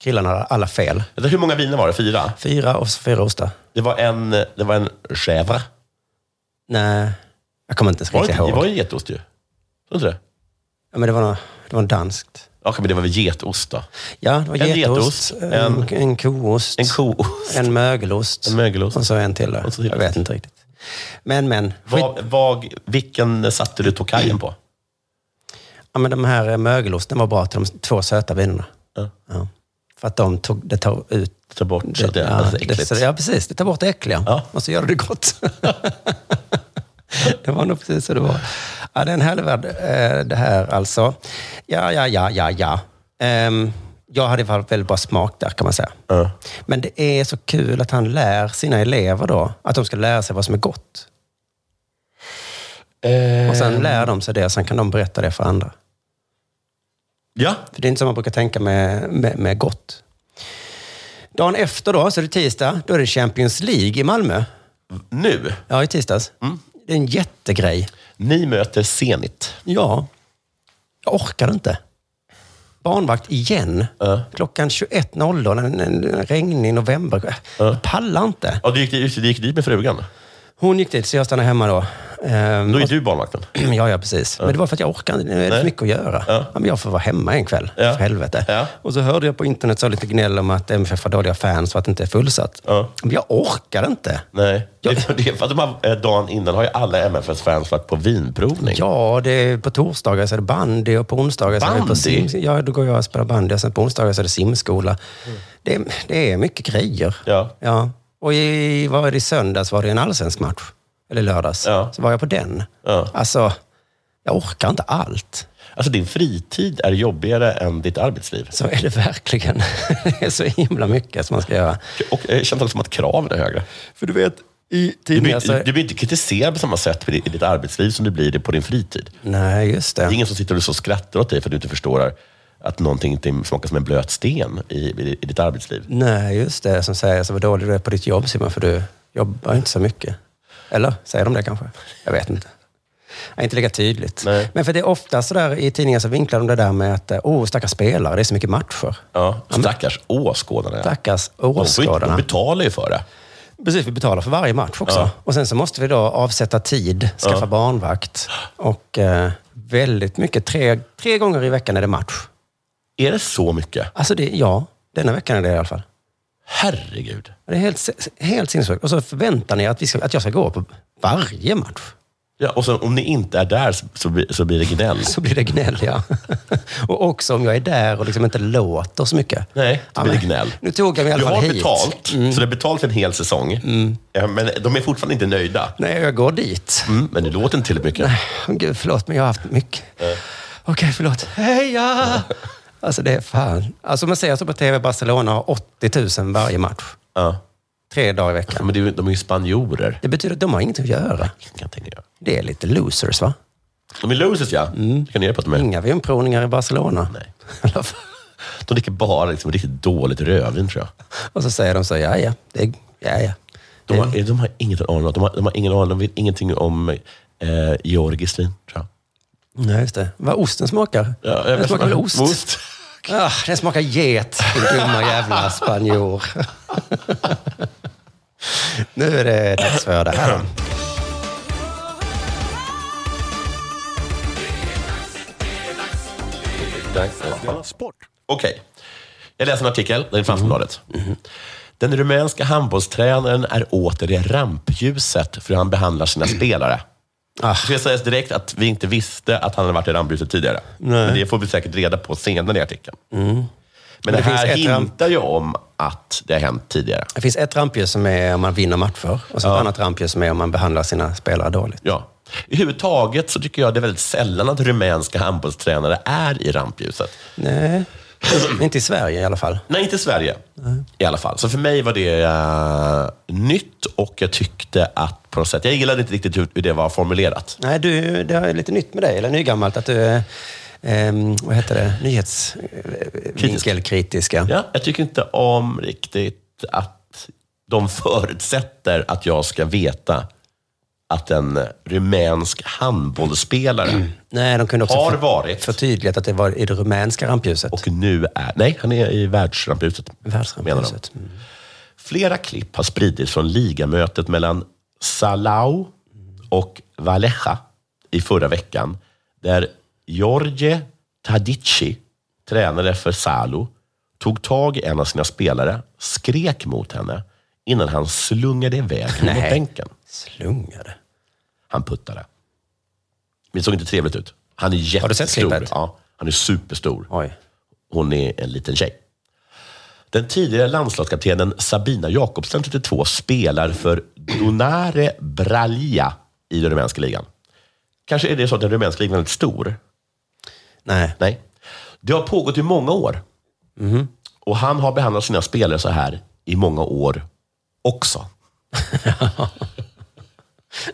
S2: Killarna hade alla fel.
S3: Vänta, Hur många viner var det? Fyra?
S2: Fyra och så fyra ostar.
S3: Det var en, det var en chèvre.
S2: Nej, jag kommer inte ens
S3: Var det,
S2: riktigt
S3: inte, det var
S2: ihåg.
S3: ju getost ju. Tror du inte det?
S2: Ja, men det var, nå- det var en danskt.
S3: Ja, men det var väl getost då?
S2: Ja, det var
S3: En
S2: getost, eh,
S3: getost,
S2: en, en koost,
S3: En koost.
S2: en mögelost
S3: En mögelost.
S2: och så en till. Där.
S3: Och så till.
S2: Jag vet inte riktigt. Men, men. Skit,
S3: Vad, vad, vilken satte du tokajen på?
S2: ja, men de här eh, mögelosten var bra till de två söta vinerna.
S3: Ja.
S2: Ja. För att de tog, det tar ut...
S3: Ta bort så att det är
S2: ja,
S3: alldeles äckligt.
S2: så- ja, precis. Det tar bort det äckliga.
S3: Ja.
S2: Och så gör det det gott. det var nog precis så det var. Ja, det är en härlig värld, eh, det här alltså. Ja, ja, ja, ja, ja. Ehm, jag hade i alla fall väldigt bra smak där, kan man säga.
S3: Ja.
S2: Men det är så kul att han lär sina elever då, att de ska lära sig vad som är gott. Och
S3: Ehm.
S2: sen lär de sig det och sen kan de berätta det för andra.
S3: Ja.
S2: För det är inte som man brukar tänka med, med, med gott. Dagen efter då, så är det tisdag, då är det Champions League i Malmö.
S3: Nu.
S2: Ja, i tisdags. Det är en jättegrej.
S3: Ni möter Zenit.
S2: Ja. Jag orkar inte. Barnvakt igen.
S3: Ja.
S2: Klockan 21.00 en, en, en regnig november. Jag pallar inte.
S3: Ja, du gick, du gick dit med frugan.
S2: Hon gick dit, så jag stannade hemma då. Ehm,
S3: Då är
S2: och-
S3: du barnvakten.
S2: Ja, ja, precis. Men det var för att jag orkade inte. Nu är det
S3: Nej.
S2: för mycket att göra. Ja.
S3: Ja.
S2: men jag får vara hemma en kväll.
S3: Ja.
S2: För helvete.
S3: Ja.
S2: Och så hörde jag på internet så lite gnäll om att MFF har dåliga fans för att det inte är fullsatt.
S3: Ja.
S2: Men jag orkar inte.
S3: Nej. Det är för- det är för att de har, eh, dagen innan har ju alla MFS-fans varit på vinprovning.
S2: Ja, det är på torsdagar så är det bandy och på onsdagar så är det på
S3: Bandy?
S2: sim... Ja, då går jag och spelar bandy och sen på onsdagar så är det simskola. Det, är- det är mycket grejer.
S3: Ja.
S2: Ja. Och i, vad är det, i söndags var det en allsvensk match. Eller lördags.
S3: Ja.
S2: Så var jag på den.
S3: Ja.
S2: Alltså, jag orkar inte allt.
S3: Alltså din fritid är jobbigare än ditt arbetsliv.
S2: Så är det verkligen. Det är så himla mycket som man ska göra.
S3: Och jag känner också som att kraven är högre.
S2: För du vet, i
S3: Du blir,
S2: tidningar så...
S3: du blir inte kritiserad på samma sätt i ditt arbetsliv som du blir det på din fritid.
S2: Nej, just
S3: Det är
S2: det.
S3: ingen som sitter och så skrattar åt dig för att du inte förstår att någonting inte smakar som en blöt sten i, i, i ditt arbetsliv.
S2: Nej, just det. Som säger så vad dålig du är på ditt jobb Simon, för du jobbar inte så mycket. Eller säger de det kanske? Jag vet inte. Nej, inte lika tydligt.
S3: Nej.
S2: Men för det är ofta så där i tidningar så vinklar de det där med att, åh, stackars spelare, det är så mycket matcher.
S3: Ja, stackars åskådarna.
S2: Stackars
S3: De får ju-
S2: åskådarna.
S3: De betalar ju för det.
S2: Precis, vi betalar för varje match också.
S3: Ja.
S2: Och sen så måste vi då avsätta tid, skaffa
S3: Ja.
S2: barnvakt och eh, väldigt mycket. Tre, tre gånger i veckan är det match.
S3: Är det så mycket?
S2: Alltså, det, ja. Denna veckan är det i alla fall.
S3: Herregud.
S2: Det är helt, helt sinnessjukt. Och så förväntar ni att, vi ska, att jag ska gå på varje match.
S3: Ja, och sen, om ni inte är där så, så, blir- så blir det gnäll.
S2: Så blir det gnäll, ja. och också om jag är där och liksom inte låter så mycket.
S3: Nej, då
S2: Ja,
S3: blir det
S2: men-
S3: gnäll.
S2: Nu tog jag mig i alla
S3: Du
S2: fall
S3: har
S2: hit.
S3: betalt,
S2: Mm.
S3: så det är betalt för en hel säsong. Ja, Men de är fortfarande inte nöjda.
S2: Nej, jag går dit.
S3: Mm, men det låter inte tillräckligt mycket.
S2: Åh, oh, Gud, förlåt, men jag har haft mycket. Okej, förlåt. Heja! Alltså det är fan. Alltså man ser så på TV, Barcelona har 80 000 varje match.
S3: Ja.
S2: Tre dagar i veckan.
S3: Men det är, ju- de är ju spanjorer.
S2: Det betyder att de har ingenting att göra.
S3: Kan jag tänka mig.
S2: Det är lite losers, va?
S3: De är losers, ja.
S2: Mm.
S3: Det kan ni hjälpa dem med.
S2: Inga vinprovningar i Barcelona.
S3: Nej.
S2: I alla fall.
S3: De dricker bara liksom, riktigt dåligt rödvin, tror jag.
S2: Och så säger de så, ja, ja. Det, är- ja, ja.
S3: De har,
S2: Mm.
S3: de har inget aning om- de har, de har ingen aning, de vet ingenting om eh, georgiskt vin, tror jag.
S2: Nej, just det. Vad osten smakar.
S3: Ja, jag
S2: den
S3: vet
S2: smakar
S3: inte.
S2: väl ost?
S3: Ost.
S2: Ah, den smakar get, din dumma jävla spanjor. nu är det dags för det här.
S3: Okej. Jag läser en artikel, den är från Aftonbladet.
S2: Mm. Mm-hmm.
S3: Den rumänska handbollstränaren är åter i rampljuset för hur han behandlar sina spelare.
S2: Mm. Ah.
S3: Det ska sägas direkt att vi inte visste att han hade varit i rampljuset tidigare. Men det får vi säkert reda på senare i artikeln. Men,
S2: Mm. det
S3: det, här
S2: finns ett ramp-
S3: hintar ju om att det har hänt tidigare.
S2: Det finns ett rampljus som är om man vinner matcher och så ett annat rampljus som är om man behandlar sina spelare dåligt.
S3: Ja. I huvud taget så tycker jag det är väldigt sällan att rumänska handbollstränare är i rampljuset.
S2: Nej, inte i Sverige i alla fall.
S3: Nej, inte i Sverige i alla fall. Så för mig var det eh, nytt och jag tyckte att på något sätt, jag gillade inte riktigt hur hur det var formulerat.
S2: Nej, du, det är lite nytt med dig, eller nygammalt, att du är ehm, vad heter det? Nyhetsvinkelkritiska.
S3: Ja, jag tycker inte om riktigt att de förutsätter att jag ska veta att en rumänsk handbollsspelare
S2: Nej, de kunde också
S3: har
S2: för-
S3: varit
S2: förtydligat att det var i det rumänska rampljuset.
S3: och nu är... Nej, han är i världsrampljuset. menar de.
S2: Världsrampljuset. Mm.
S3: Flera klipp har spridits från ligamötet mellan Salau och Valleja i förra veckan, där Jorge Tadici, tränare för Salo, tog tag i en av sina spelare, skrek mot henne, innan han slungade iväg henne mot bänken.
S2: Slungade.
S3: Han puttade. Men det såg inte trevligt ut. Han är jättestor.
S2: Har du sett klippet?
S3: Ja, han är superstor.
S2: Oj.
S3: Hon är en liten tjej. Den tidigare landslagskaptenen Sabina Jakobsen, 32, spelar för Donare Bralia i den rumänska ligan. Kanske är det så att den rumänska ligan är lite stor?
S2: Nej.
S3: Nej. Det har pågått i många år. Och han har behandlat sina spelare så här i många år också.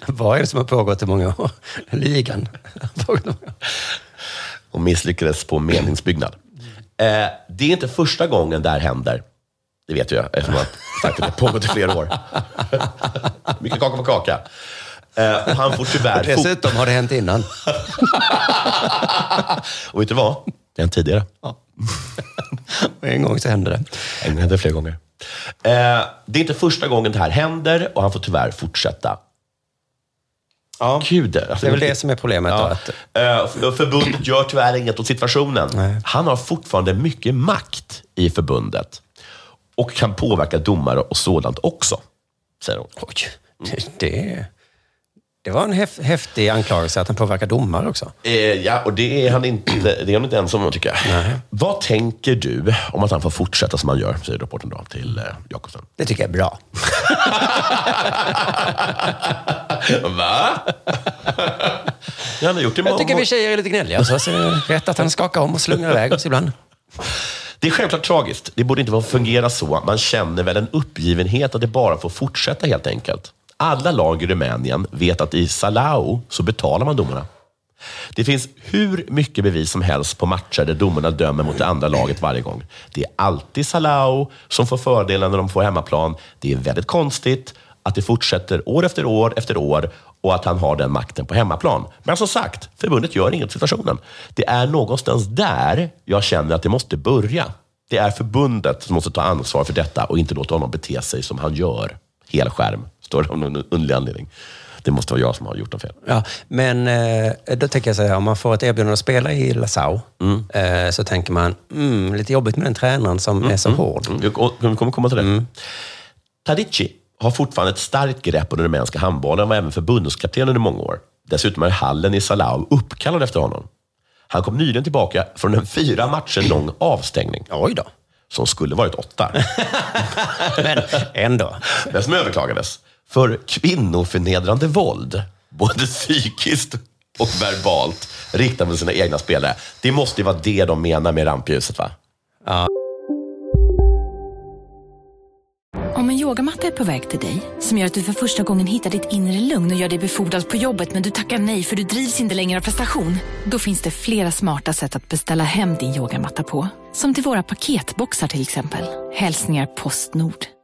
S2: Vad är det som har pågått i många år? Ligan. Har pågått i många år.
S3: och misslyckades på meningsbyggnad. Eh, det är inte första gången det här händer. Det vet jag eftersom att sagt att det har pågått i flera år. Mycket kaka på kaka. Eh, och han får tyvärr... fot-
S2: Dessutom har det hänt innan.
S3: och vet du vad? Det har hänt tidigare.
S2: Och en gång så hände det.
S3: Det hände flera gånger. Eh, det är inte första gången det här händer och han får tyvärr fortsätta.
S2: Ja.
S3: Gud, alltså,
S2: Det är väl det som är problemet. Då,
S3: Ja.
S2: att,
S3: Eh, för- Förbundet gör tyvärr inget åt situationen. Han har fortfarande mycket makt i förbundet och kan påverka domare och sådant också, säger hon.
S2: oj, det, det, det var en häf, häftig anklagelse att han påverkar domare också.
S3: Eh, ja, och det är han inte, det är han inte ensam om, tycker jag. Vad tänker du om att han får fortsätta som han gör, säger rapporten då till eh, Jakobsen.
S2: Det tycker jag är bra.
S3: Va? Ja, han har gjort det, i
S2: Jag tycker
S3: må-
S2: vi tjejer är lite gnälliga. Så det är rätt att han skakar om och slungar iväg oss ibland.
S3: det är självklart tragiskt. Det borde inte få fungera så. Man känner väl en uppgivenhet att det bara får fortsätta helt enkelt. Alla lag i Rumänien vet att i Salau så betalar man domarna. Det finns hur mycket bevis som helst på matcher där domarna dömer mot det andra laget varje gång. Det är alltid Salau som får fördelen när de får hemmaplan. Det är väldigt konstigt att det fortsätter år efter år efter år och att han har den makten på hemmaplan. Men som sagt, förbundet gör inget åt situationen. Det är någonstans där jag känner att det måste börja. Det är förbundet som måste ta ansvar för detta och inte låta honom bete sig som han gör. Helskärm, står det av någon underlig anledning. Det måste vara jag som har gjort något fel.
S2: Ja, men eh, då tänker jag så här, om man får ett erbjudande att spela i Lassau
S3: Mm.
S2: eh, så tänker man, mm, lite jobbigt med den tränaren som är
S3: Mm,
S2: så hård.
S3: Vi kommer komma till det.
S2: Mm.
S3: Tadici har fortfarande ett starkt grepp om den rumänska handbollen och var även förbundskapten under många år. Dessutom är hallen i Salau uppkallad efter honom. Han kom nyligen tillbaka från en fyra matcher lång avstängning,
S2: Oj då.
S3: som skulle varit åtta,
S2: Men ändå.
S3: men som överklagades, för kvinnoförnedrande våld, både psykiskt och verbalt, riktat mot sina egna spelare. Det måste ju vara det de menar med rampljuset, va?
S4: Om en yogamatta är på väg till dig, som gör att du för första gången hittar ditt inre lugn och gör dig befordrad på jobbet men du tackar nej för du drivs inte längre av prestation. Då finns det flera smarta sätt att beställa hem din yogamatta på. Som till våra paketboxar till exempel. Hälsningar Postnord.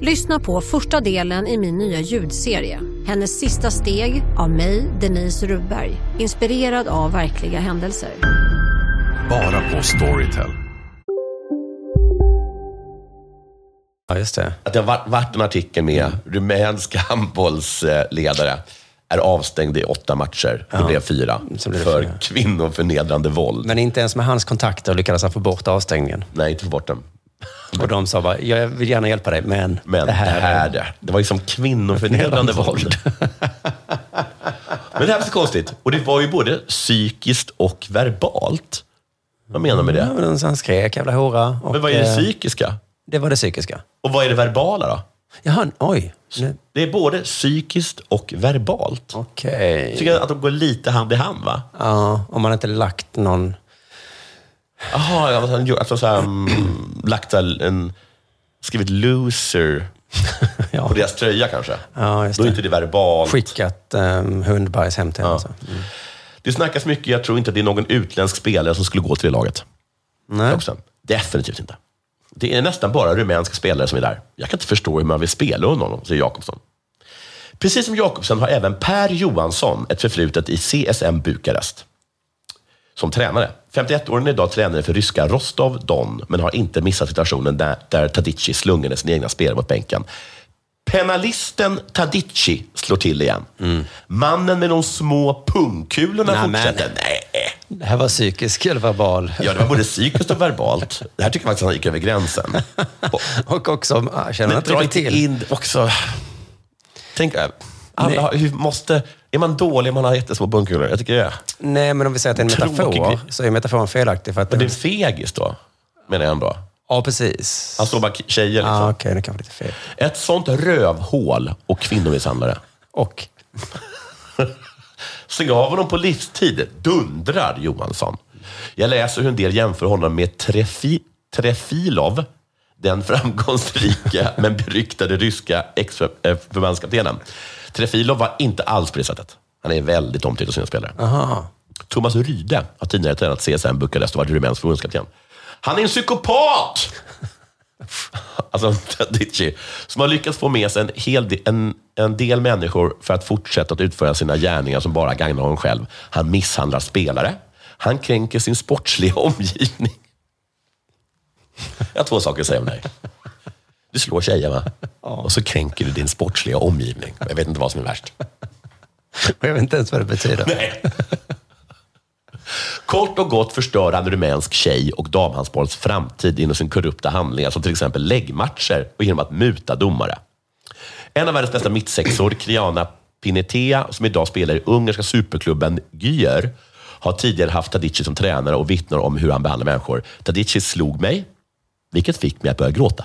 S5: Lyssna på första delen i min nya ljudserie. Hennes sista steg av mig, Denise Rubberg. Inspirerad av verkliga händelser.
S6: Bara på Storytel.
S2: Ja, just det.
S3: att det har varit- varit en artikel med
S2: Mm.
S3: rumänska handbollsledare är avstängd i åtta matcher. Det blev fyra.
S2: Mm, så blev det
S3: för
S2: fyra.
S3: kvinnoförnedrande våld.
S2: Men inte ens med hans kontakter lyckades han få bort avstängningen.
S3: Nej, inte få bort den.
S2: Och de sa bara, jag vill gärna hjälpa dig, men,
S3: Men det här, är det. Det var liksom kvinnoförnedrande våld. Men det här var så konstigt. Och det var ju både psykiskt och verbalt. Vad menar man med
S2: Ja,
S3: det?
S2: men han skrek jävla hora. Mm, och,
S3: Men vad är det
S2: eh,
S3: psykiska?
S2: Det var det psykiska.
S3: Och vad är det verbala då?
S2: Jaha, oj. Nu-
S3: Det är både psykiskt och verbalt.
S2: Okej.
S3: Jag tycker att de går lite hand i hand, va?
S2: Ja, om man inte lagt någon...
S3: Jaha, alltså han gjorde, alltså så här, mm, lagt all- en, skrivit loser
S2: Ja.
S3: på deras tröja kanske.
S2: Ja, just
S3: Då är
S2: det.
S3: inte det verbalt.
S2: Skickat um, hundbajs hem till henne.
S3: Ja.
S2: Alltså.
S3: Det snackas mycket, jag tror inte att det är någon utländsk spelare som skulle gå till det laget.
S2: Nej.
S3: Också. Definitivt inte. Det är nästan bara rumänska spelare som är där. Jag kan inte förstå hur man vill spela under honom, säger Jakobsson. Precis som Jakobsen har även Per Johansson ett förflutet i CSM Bukarest som tränare. 51-åringen är idag tränare för ryska Rostov Don, men har inte missat situationen där, där Tadici slungade sina egna spelare mot bänken. Penalisten Tadici slår till igen. Mannen med de små pungkulorna
S2: Nej, men-
S3: fortsätter. Nej.
S2: Det här var psykisk eller verbal.
S3: Ja, det var både psykiskt och verbalt. Det här tycker jag faktiskt att han gick över gränsen. Och,
S2: Och också, ah, känner
S3: men
S2: han
S3: dra
S2: inte
S3: inte
S2: till?
S3: in också... Tänk, eh, alla,
S2: Nej.
S3: har- hur måste, är man dålig om man har jättesmå pungkulor? Jag tycker det.
S2: Nej, men om vi säger att det är en
S3: Tråkig grej.
S2: metafor, så är metaforen felaktig. För att
S3: Men det är en fegis då, menar jag ändå.
S2: Ja, precis.
S3: Han slår bara k- tjejer. Liksom.
S2: ah, Okej, det kanske lite fel.
S3: Ett sånt rövhål och kvinnomisshandlare.
S2: Och?
S3: Stäng av honom på livstid, dundrar Johansson. Jag läser hur en del jämför honom med Trefi, Trefilov, den framgångsrika men beryktade ryska ex-förbandskaptenen. Trefilov var inte alls på det sättet. Han är väldigt omtyckt av sina spelare. Thomas Ryde har tidigare tränat CSN Bukarest och varit rumänsk förbundskapten. Han är en psykopat! alltså Tadici, som har lyckats få med sig en, hel de, en, en del människor för att fortsätta att utföra sina gärningar som bara gagnar honom själv. Han misshandlar spelare. Han kränker sin sportsliga omgivning. Jag har två saker att säga om dig. Du slår tjejer, va? Och så kränker du din sportsliga omgivning. Jag vet inte vad som är värst.
S2: Och jag vet inte ens vad det betyder.
S3: Nej. Kort och gott förstör han rumänsk tjej och damhandbollens framtid genom sina korrupta handlingar, som till exempel läggmatcher och genom att muta domare. En av världens bästa mittsexor, Kriana Pinetea, som idag spelar i ungerska superklubben Gyr, har tidigare haft Tadici som tränare och vittnar om hur han behandlar människor. Tadici slog mig, vilket fick mig att börja gråta.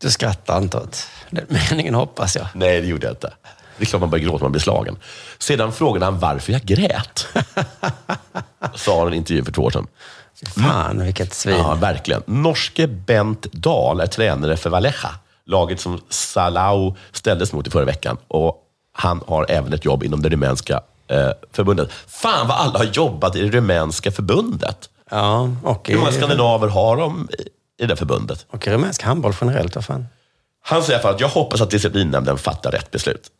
S2: Du skrattar inte åt den meningen, hoppas jag.
S3: Nej, det gjorde jag inte. Det är klart man börjar gråta när man blir slagen. Sedan frågade han varför jag grät. Sa han i en intervju för två år sedan.
S2: Fan, vilket svin.
S3: Mm. Ja, verkligen. Norske Bent Dahl är tränare för Valleja, laget som Salau ställdes mot i förra veckan. Och han har även ett jobb inom det rumänska eh, förbundet. Fan vad alla har jobbat i det rumänska förbundet.
S2: Ja, och,
S3: Hur många
S2: i,
S3: skandinaver har de i- i det där förbundet?
S2: och i rumänsk handboll generellt, vad fan?
S3: Han säger i alla fall att jag hoppas att disciplinnämnden fattar rätt beslut.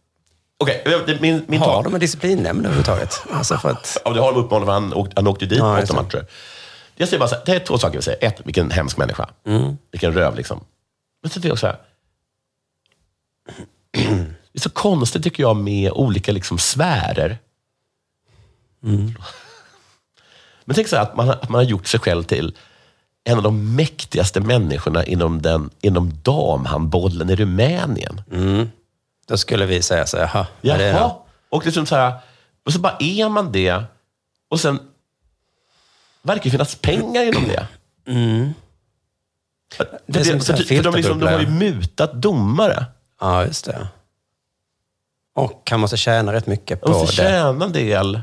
S3: Okej, det- min, min
S2: Har
S3: tag-
S2: de en disciplinnämnd överhuvudtaget? Alltså för att...
S3: Ja, det har de uppmanat för han åkte, han åkte dit
S2: Ja,
S3: på
S2: just
S3: åtta
S2: det.
S3: matcher. Jag säger bara så här, det är två saker jag vill säga. Ett, vilken hemsk människa.
S2: Mm.
S3: Vilken röv liksom. Men sen tycker jag också så här. Det är så konstigt tycker jag med olika liksom sfärer.
S2: Mm.
S3: Men tänk så här att man, har- att man har gjort sig själv till en av de mäktigaste människorna inom, den, inom damhandbollen i Rumänien.
S2: Då skulle vi säga så här, jaha. ja, det är
S3: Jaha.
S2: det.
S3: Och liksom så här, och så bara är man det. Och sen verkar det finnas pengar inom det. För
S2: Mm. Det är som
S3: det-
S2: så här
S3: för- för de, liksom, de
S2: filterbubbla.
S3: har ju mutat domare.
S2: Ja, just det. Och han måste tjäna rätt mycket
S3: De
S2: på
S3: måste
S2: det.
S3: tjäna en del.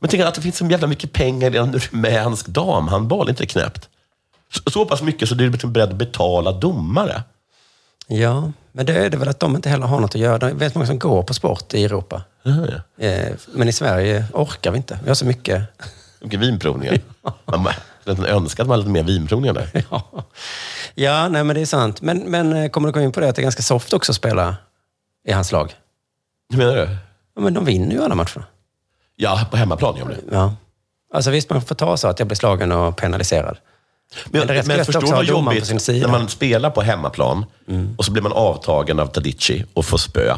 S3: Men tänk att det finns så jävla mycket pengar i en rumänsk damhandboll. Inte knäppt. Så, så pass mycket så du är liksom beredd att betala domare.
S2: Ja, men det är det väl att de inte heller har något att göra. Det är väldigt många som går på sport i Europa. Eh, Men i Sverige orkar vi inte. Vi har så mycket.
S3: Mycket vinprovningar. Man bara- jag önskar att man hade lite mer vinprovningar där.
S2: Ja, ja nej men det är sant. Men, men eh, kommer du komma in på det att det är ganska soft också att spela i hans lag?
S3: Hur menar du?
S2: Ja, men de vinner ju alla matcher.
S3: Ja, på hemmaplan gör de det.
S2: Ja. Alltså visst, man får ta så att jag blir slagen och penaliserad.
S3: Men,
S2: Men det är rätt
S3: men,
S2: gött
S3: förstår du
S2: också
S3: vad
S2: att ha domaren på
S3: jobbigt
S2: sin sida.
S3: när man spelar på hemmaplan och så blir man avtagen av Tadici och får spö.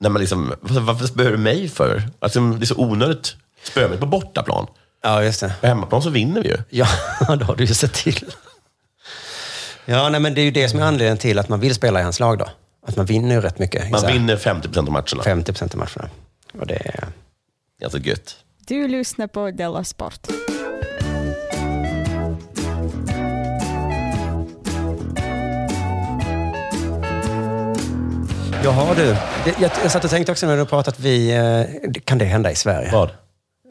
S3: När man liksom, varför varför spöar du mig för? Alltså, det är så onödigt. Spöa mig på bortaplan.
S2: Ja, just det.
S3: På hemmaplan så vinner vi ju.
S2: Ja, då har du ju sett till. Ja, nej, men det är ju det som är anledningen till att man vill spela i hans lag då. Att man vinner ju rätt mycket. i
S3: Man
S2: så här
S3: vinner 50 procent av matcherna.
S2: 50 procent av matcherna. Och det är...
S3: Alltså gött.
S7: Du lyssnar på Della Sport.
S2: Jaha du, det, jag, jag satt och tänkte också när du pratade att vi... Eh, kan det hända i Sverige?
S3: Vad?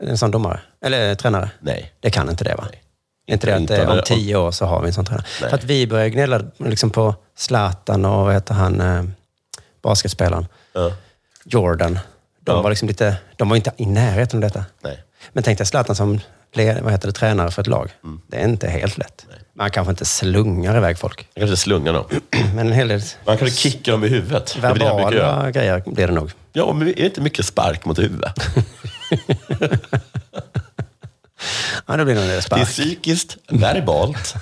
S2: En sån domare? Eller eh, tränare?
S3: Nej.
S2: Det kan inte det va?
S3: Nej.
S2: Inte det att
S3: Inte
S2: eh, om
S3: det-
S2: tio år så har vi en sån tränare.
S3: Nej.
S2: För att vi börjar gnälla liksom på Zlatan och vad heter han, eh, basketspelaren,
S3: Ja.
S2: Jordan. De
S3: Ja.
S2: var liksom lite, de var inte i närheten av detta.
S3: Nej.
S2: Men tänk dig Zlatan som led- vad heter det, tränare för ett lag.
S3: Mm.
S2: Det är inte helt lätt. Man kanske inte slungar iväg folk,
S3: Jag kanske slungar dem.
S2: men en hel del
S3: Man kanske kickar dem i huvudet. Det är väl det han brukar göra.
S2: verbala grejer blir det nog.
S3: Ja, men är det inte mycket spark mot huvudet?
S2: Ja, det blir nog en del
S3: Det är
S2: spark.
S3: psykiskt, verbalt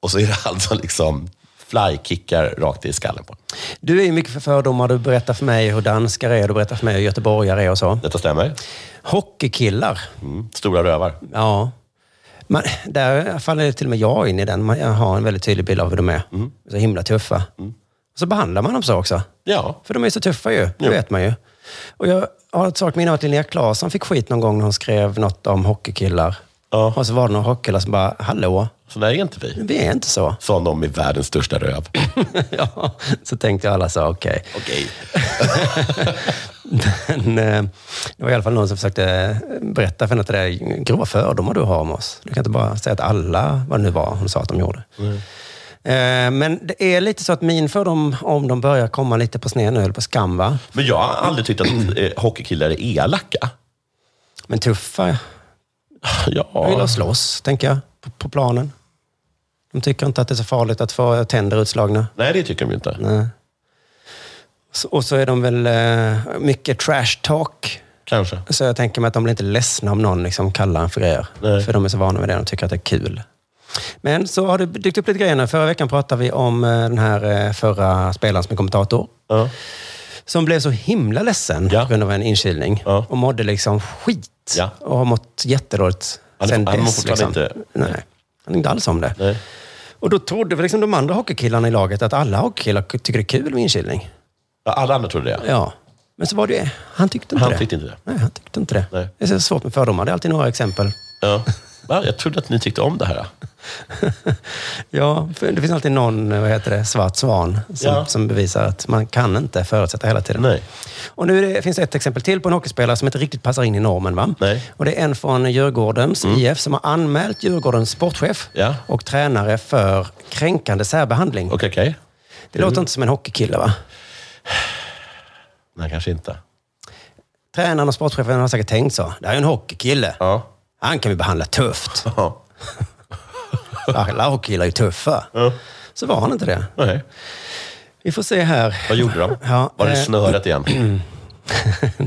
S3: och så är det alltså liksom flykickar rakt i skallen på
S2: Du är ju mycket för fördomar. Du berättar för mig hur danskar är, du berättar för mig hur göteborgare är och så.
S3: Detta stämmer.
S2: Hockeykillar.
S3: Mm. Stora rövar.
S2: Ja. Man, där faller till och med jag in i den. Man, jag har en väldigt tydlig bild av hur de är.
S3: Mm.
S2: Så himla tuffa. Så behandlar man dem så också.
S3: Ja.
S2: För de är så tuffa ju, det
S3: Jo.
S2: vet man ju. Och jag har ett svagt minne av att Linnea Claesson fick skit någon gång när hon skrev något om hockeykillar.
S3: Ja.
S2: Och så var det några hockeykillar som bara, hallå,
S3: Så där är inte vi.
S2: vi är inte så.
S3: Sa de i världens största röv.
S2: ja, så tänkte jag alla så, okej.
S3: Okej.
S2: Men eh, det var i alla fall någon som försökte eh, berätta för henne att det är grova fördomar du har om oss. Du kan inte bara säga att alla, vad det nu var hon sa att de gjorde. Eh, Men det är lite så att min fördom, om de börjar komma lite på sned nu, eller på skam, va?
S3: Men jag har aldrig tyckt att eh, hockeykillar är elaka.
S2: Men tuffa, de vill
S3: Ja.
S2: att slåss, tänker jag, på, på planen. De tycker inte att det är så farligt att få tänder utslagna.
S3: Nej, det tycker de ju inte.
S2: Nej. Så- Och så är de väl eh, mycket trash talk.
S3: Kanske.
S2: Så jag tänker mig att de blir inte ledsna om någon liksom kallar en för grejer.
S3: Nej.
S2: För de är så vana vid det och tycker att det är kul. Men så har det dykt upp lite grejer nu. Förra veckan pratade vi om eh, den här eh, förra spelaren som är kommentator.
S3: Ja.
S2: Som blev så himla ledsen
S3: Ja.
S2: på grund av en inkylning.
S3: Ja.
S2: Och mådde liksom skit.
S3: Ja.
S2: Och har mått jättedåligt
S3: Han-
S2: sen
S3: han mår
S2: dess.
S3: fortfarande
S2: liksom.
S3: inte-
S2: Nej. Han är inte alls om det.
S3: Nej.
S2: Och då trodde väl liksom de andra hockeykillarna i laget att alla hockeykillar tycker det är kul med inkylning.
S3: Ja, Alla andra trodde det.
S2: Ja. Men så var det ju. Han tyckte inte
S3: Han
S2: det.
S3: tyckte inte det.
S2: Nej, han tyckte inte det.
S3: Nej.
S2: Det är så svårt med fördomar. Det är alltid några exempel.
S3: Ja. Va, Jag trodde att ni tyckte om det här.
S2: Ja, för det finns alltid någon eh, vad heter det, svart svan som,
S3: Ja.
S2: som bevisar att man kan inte förutsätta hela tiden.
S3: Nej.
S2: Och nu är det, finns det ett exempel till på en hockeyspelare som inte riktigt passar in i normen. Va?
S3: Nej. Mm.
S2: Och det är en från Djurgårdens IF som har anmält Djurgårdens sportchef
S3: Ja.
S2: och tränare för kränkande särbehandling.
S3: Okej, okej.
S2: Det låter inte som en hockeykille va?
S3: Nej, kanske inte.
S2: Tränaren och sportchefen har säkert tänkt så. Det här är ju en hockeykille.
S3: Ja.
S2: Han kan vi behandla tufft.
S3: Ja.
S2: Alla hockeykillar är ju tuffa.
S3: Ja.
S2: Så var han inte det.
S3: Okej.
S2: Vi får se här.
S3: Vad gjorde de?
S2: Ja,
S3: Var det
S2: eh,
S3: snöret igen?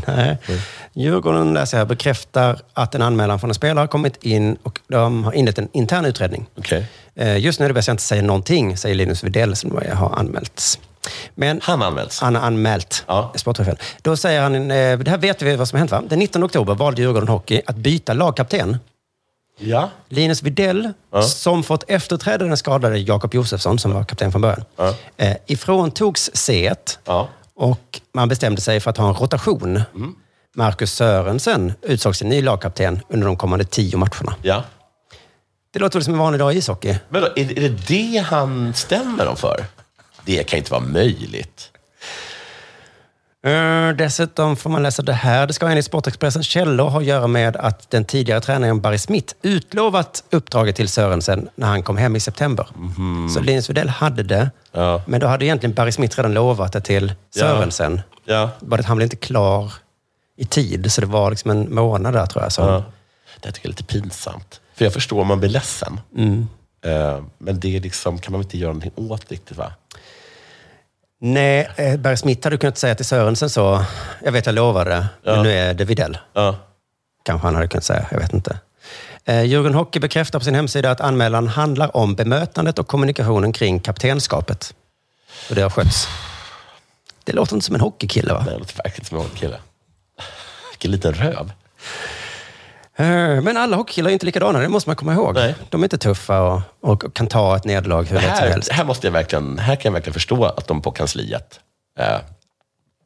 S2: Nej.
S3: Mm.
S2: Djurgården läser jag bekräftar att en anmälan från en spelare har kommit in och de har inlett en intern utredning.
S3: Okej.
S2: Eh, Just nu är det bäst jag inte säger någonting, säger Linus Widell som har anmälts. Men
S3: Han anmäls?
S2: han har anmält
S3: Ja.
S2: sportchefen. Då säger han, eh, det här vet vi vad som har hänt va? Den 19 oktober valde Djurgården Hockey att byta lagkapten.
S3: Ja.
S2: Linus Widell, som fått efterträda den skadade Jakob Josefsson, som var kapten från början,
S3: Ja.
S2: eh, ifråntogs C
S3: Ja. Mm.
S2: och man bestämde sig för att ha en rotation. Marcus Sörensen utsågs till ny lagkapten under de kommande tio matcherna.
S3: Ja.
S2: Det låter väl som en vanlig dag i ishockey?
S3: Men då, är, är det det han stämmer dem för? Det kan inte vara möjligt.
S2: Eh, Dessutom får man läsa det här. Det ska enligt Sportexpressens källor ha att göra med att den tidigare tränaren Barry Smith utlovat uppdraget till Sörensen när han kom hem i september. Så Linus Widell hade det,
S3: Mhm. Ja.
S2: men då hade egentligen Barry Smith redan lovat det till Sörensen.
S3: Ja.
S2: Bara att han blev inte klar i tid, så det var liksom en månad där tror jag. Så.
S3: Ja. Det här tycker jag är lite pinsamt. För jag förstår om man blir ledsen. Eh, Men det är liksom, kan man inte göra någonting åt riktigt va?
S2: Nej, eh, Barry Smith hade kunnat säga till Sörensen så, jag vet jag lovade, men nu är det Widell.
S3: Ja.
S2: kanske han hade kunnat säga. Jag vet inte. Eh, Djurgården Hockey bekräftar på sin hemsida att anmälan handlar om bemötandet och kommunikationen kring kaptenskapet. Och det har skötts. Det låter inte som en hockeykille, va?
S3: Nej, Det låter verkligen som en kille. Vilken liten röv.
S2: Eh, Men alla hockeykillar är inte likadana, det måste man komma ihåg.
S3: Nej.
S2: De är inte tuffa och, och, kan ta ett nederlag hur
S3: Det
S2: lätt som
S3: här,
S2: helst.
S3: det här, måste jag verkligen, här kan jag verkligen förstå att de på kansliet eh,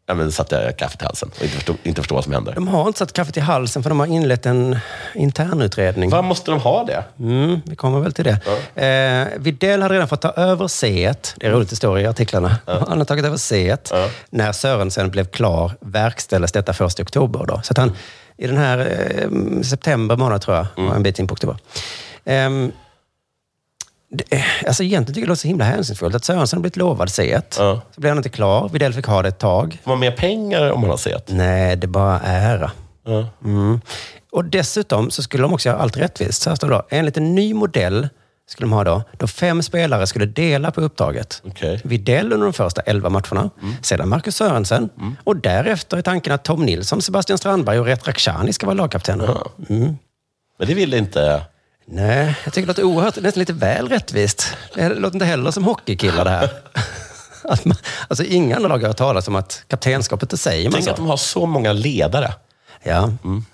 S3: ja, men satte kaffet i halsen och inte förstod, inte förstod vad som hände.
S2: De har inte satt kaffet i halsen för de har inlett en internutredning.
S3: Vad måste de ha det?
S2: Mm, vi kommer väl till det. Eh, Widell hade redan fått ta över c Det är roligt, det står i artiklarna. Han har tagit över c När Sörensen blev klar verkställdes detta först i oktober. Då. Så att han, i den här eh, september månad, tror jag, och en bit in på oktober. Ehm, det, alltså egentligen tycker jag det låter så himla hänsynsfullt att Sörensen har blivit lovad c
S3: Ja.
S2: Så blev han inte klar. Widell fick ha det ett tag.
S3: Får man mer pengar om man har sett?
S2: Nej, det bara är ära.
S3: Ja.
S2: Mm. Och dessutom så skulle de också göra allt rättvist. Så här står det då. Enligt en ny modell skulle de ha då, då fem spelare skulle dela på uppdraget.
S3: Okej. Mm.
S2: Widell under de första elva matcherna, sedan Marcus Sörensen och därefter är tanken att Tom Nilsson, Sebastian Strandberg och Ret Rakhshani ska vara lagkaptener.
S3: Men det vill inte...
S2: Nej, jag tycker det låter oerhört, nästan lite väl rättvist. Det låter inte heller som hockeykillar det här. Att man, alltså inga andra lag har hört talas om att kaptenskapet, det säger man
S3: Tänk
S2: så.
S3: att de har så många ledare.
S2: Ja.
S3: Mm.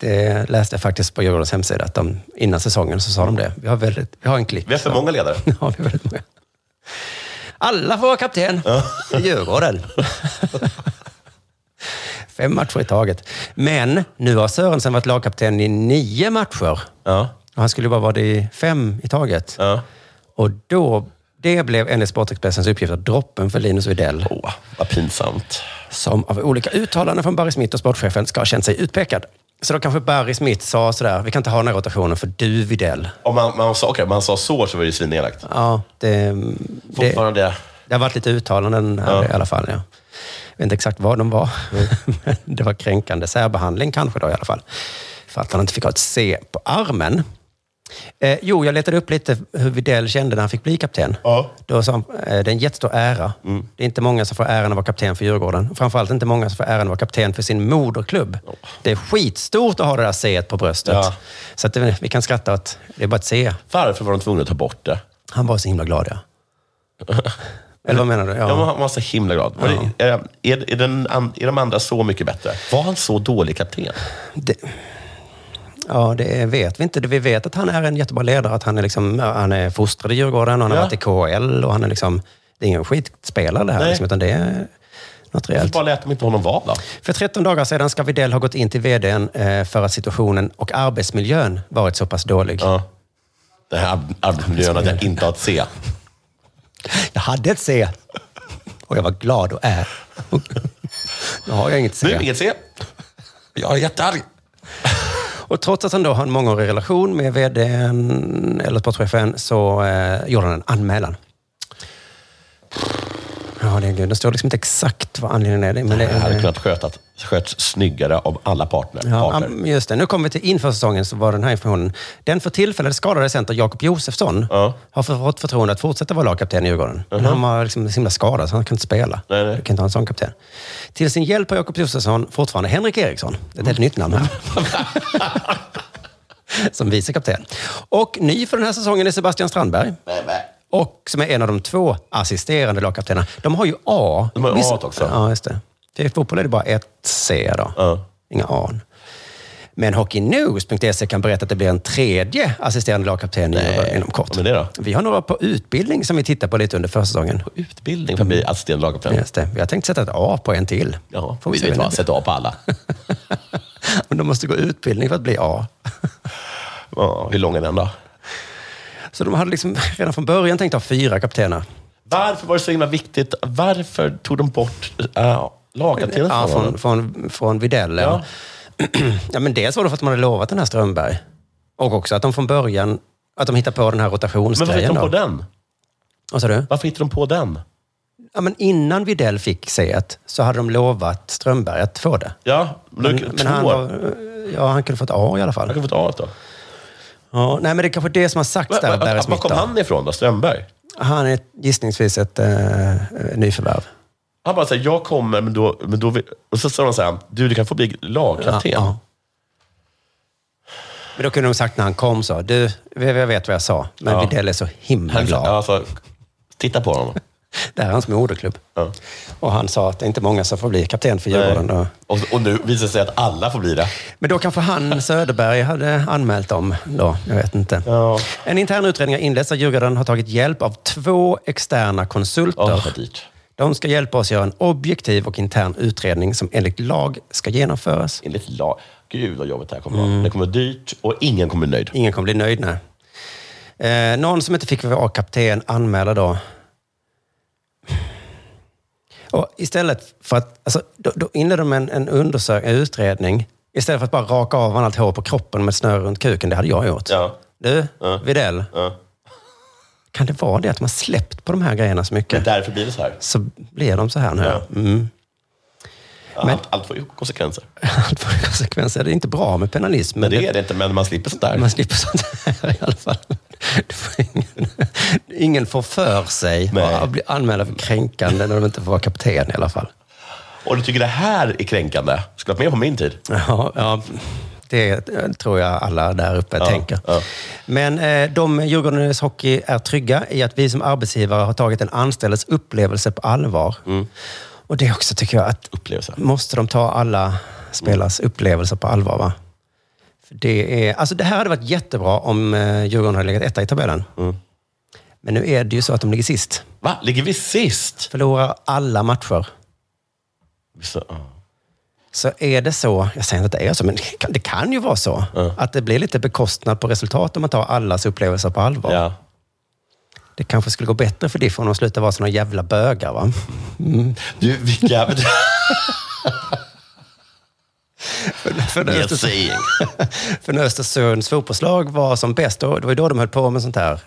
S2: Det läste jag faktiskt på Djurgårdens hemsida, att de, innan säsongen så sa de det. Vi har, väldigt, vi har en klick.
S3: Vi har för
S2: så.
S3: många ledare.
S2: Ja, vi har väldigt många. Alla får vara kapten i Djurgården. Fem matcher i taget. Men nu har Sörensen varit lagkapten i nio matcher.
S3: Ja.
S2: Och han skulle ju bara vara det i fem i taget.
S3: Ja.
S2: Och då, det blev enligt Sportexpressens uppgifter droppen för Linus Widell
S3: Åh, vad pinsamt.
S2: som av olika uttalanden från Barry Smith och sportchefen ska ha känt sig utpekad. Så då kanske Barry Smith sa sådär, vi kan inte ha den här rotationen för du Widell.
S3: Om man, man, sa, okay, man sa så, så var det ju svinelakt.
S2: Ja, det, det,
S3: Fortfarande...
S2: det har varit lite uttalanden här
S3: Ja. Mm.
S2: i alla fall. Ja. Jag vet inte exakt vad de var, men det var kränkande särbehandling kanske då i alla fall. För att han inte fick ha ett C på armen. Eh, jo, jag letade upp lite hur Widell kände när han fick bli kapten.
S3: Ja. Mm.
S2: Då sa han, eh, det är en jättestor ära. Det är inte många som får äran att vara kapten för Djurgården. Framförallt inte många som får äran att vara kapten för sin moderklubb. Det är skitstort att ha det där C på bröstet.
S3: Ja.
S2: Så att det, vi kan skratta åt, det är bara ett C.
S3: Varför var de tvungna att ta bort det?
S2: Han var så himla glad, ja. Eller vad menar du?
S3: Ja. men han var så himla glad. Var det, är, är, den, an- är de andra så mycket bättre? Var han så dålig kapten?
S2: Det, ja, det vet vi inte. Det- Vi vet att han är en jättebra ledare. Att han, är liksom, ja, han är fostrad i Djurgården och han har
S3: Ja.
S2: varit i KHL och han är liksom... Det är ingen skitspelare det här,
S3: Nej.
S2: liksom, utan det är något
S3: Varför
S2: rejält.
S3: bara lät de inte honom vara då?
S2: För 13 dagar sedan ska Widell ha gått in till vdn eh, för att situationen och arbetsmiljön varit så pass dålig.
S3: Ja. Den här ar- arbetsmiljön att jag inte har att se.
S2: Jag hade ett C och jag var glad och är. Nu har jag inget C.
S3: Nu är det inget se. Jag är jättearg.
S2: Och trots att han då har en mångårig relation med vdn eller sportchefen så eh, gjorde han en anmälan. Ja, det, det står liksom inte exakt vad anledningen är. Men det,
S3: Det hade
S2: är
S3: kunnat skötas, sköts snyggare av alla partner.
S2: Ja,
S3: partner.
S2: am- just det. Nu kommer vi till inför säsongen så var den här informationen. Den för tillfället skadade center Jakob Josefsson
S3: Ja.
S2: har för- fått förtroende att fortsätta vara lagkapten i Djurgården. Men han var liksom så himla skadad så han kan inte spela.
S3: Nej, nej.
S2: Du kan inte ha en sån kapten. Till sin hjälp har Jakob Josefsson fortfarande Henrik Eriksson. Det är ett helt nytt namn här. som vice kapten. Och ny för den här säsongen är Sebastian Strandberg. Och som är en av de två assisterande lagkaptenerna. De har ju A.
S3: De har ju
S2: Vissa-
S3: A också.
S2: Ja, just det. För i fotboll är det bara ett C då.
S3: Ja.
S2: Inga A. Men hockeynews.se E kan berätta att det blir en tredje assisterande lagkapten inom- inom kort.
S3: Vad är det då?
S2: Vi har några på utbildning som vi tittar på lite under försäsongen.
S3: Utbildning för att bli assisterande lagkapten.
S2: Just det. Vi har tänkt sätta ett A på en till.
S3: Ja,
S2: Får
S3: vi
S2: se
S3: vet
S2: när
S3: vad.
S2: det
S3: Sätt av på alla.
S2: blir. Men de måste gå utbildning för att bli A.
S3: Ja, hur lång är den då?
S2: Så de hade liksom redan från början tänkt ha fyra kaptener.
S3: Varför var det så himla viktigt? Varför tog de bort äh, lagkaptenen?
S2: Ja, från,
S3: honom?
S2: från, från Widell. Ja. ja, men dels var det för att man hade lovat den här Strömberg. Och också att de från början, att de hittar på den här
S3: Men varför
S2: rotationsgrejen.
S3: hittade de på
S2: då.
S3: den?
S2: Vad sa du?
S3: Varför hittade de på den?
S2: Ja, men innan Widell fick c så hade de lovat Strömberg att få det.
S3: Ja, men,
S2: Men,
S3: två.
S2: men han,
S3: han
S2: var, ja, han kunde fått A i alla fall.
S3: kan få ett A då.
S2: Ja, nej, men det är kanske det som har sagts där av Barry
S3: Var
S2: Smith.
S3: kom
S2: då.
S3: han ifrån då? Strömberg?
S2: Han är gissningsvis ett eh, nyförvärv.
S3: Han bara säger, jag kommer, men då... Men då vill... Och så sa de så här, du, du kan få bli lagkapten.
S2: Ja, ja. Men då kunde de sagt när han kom så. Du, jag vet vad jag sa, men
S3: Ja.
S2: Widell är så himla
S3: Han,
S2: glad.
S3: ja, alltså, titta på honom.
S2: Det här är hans moderklubb.
S3: Ja.
S2: Och han sa att det är inte många som får bli kapten för Djurgården. Då.
S3: Och, och nu visar det sig att alla får bli det.
S2: Men då kanske han, Söderberg, hade anmält dem då. Jag vet inte.
S3: Ja.
S2: En intern utredning har inletts där Djurgården har tagit hjälp av två externa
S3: Ja,
S2: konsulter.
S3: det var dyrt.
S2: De ska hjälpa oss göra en objektiv och intern utredning som enligt lag ska genomföras.
S3: Enligt lag. Gud vad jobbigt det här kommer vara.
S2: Mm.
S3: Det kommer vara dyrt och ingen kommer bli nöjd.
S2: Ingen kommer bli nöjd, nej. Eh, någon som inte fick vara kapten anmäla då. Och istället för att... Alltså, då, då inledde de en, en undersökning, en utredning. Istället för att bara raka av honom allt hår på kroppen med ett snöre runt kuken. Det hade jag gjort.
S3: Ja.
S2: Du,
S3: Ja.
S2: Widell.
S3: Ja.
S2: Kan det vara det att man släppt på de här grejerna så mycket?
S3: Därför blir det så här.
S2: så blir de så här nu.
S3: Ja.
S2: Mm. Men-
S3: allt, allt får ju konsekvenser.
S2: Allt får konsekvenser. Det är inte bra med penalism.
S3: Men det är det inte, men man slipper sånt där.
S2: Man slipper sånt här i alla fall. Det får ingen, ingen får för sig
S3: Nej.
S2: att bli anmälda för kränkande när de inte får vara kapten i alla fall.
S3: Och du tycker det här är kränkande? Skulle varit med på min tid.
S2: Ja, ja, det tror jag alla där uppe
S3: Ja,
S2: tänker.
S3: ja.
S2: Men eh, de Djurgårdens hockey är trygga i att vi som arbetsgivare har tagit en anställdes upplevelse på allvar.
S3: Mm.
S2: Och det också tycker jag att
S3: Upplevelse.
S2: måste de ta alla spelares upplevelser på allvar. Va? För det, är, alltså det här hade varit jättebra om eh, Djurgården hade legat etta i tabellen. Men nu är det ju så att de ligger sist.
S3: Va? Ligger vi sist?
S2: Förlorar alla matcher.
S3: Så, ja.
S2: Så är det så, jag säger inte att det är så, men det kan, det kan ju vara så. Att det blir lite bekostnad på resultat om man tar allas upplevelser på allvar.
S3: ja.
S2: Det kanske skulle gå bättre för Diff om de slutar vara såna jävla bögar. Va?
S3: Du, vilka...
S2: För när
S3: You're
S2: Östers-
S3: saying.
S2: För när Östersunds fotbollslag var som bäst, då, det var ju då de höll på med sånt här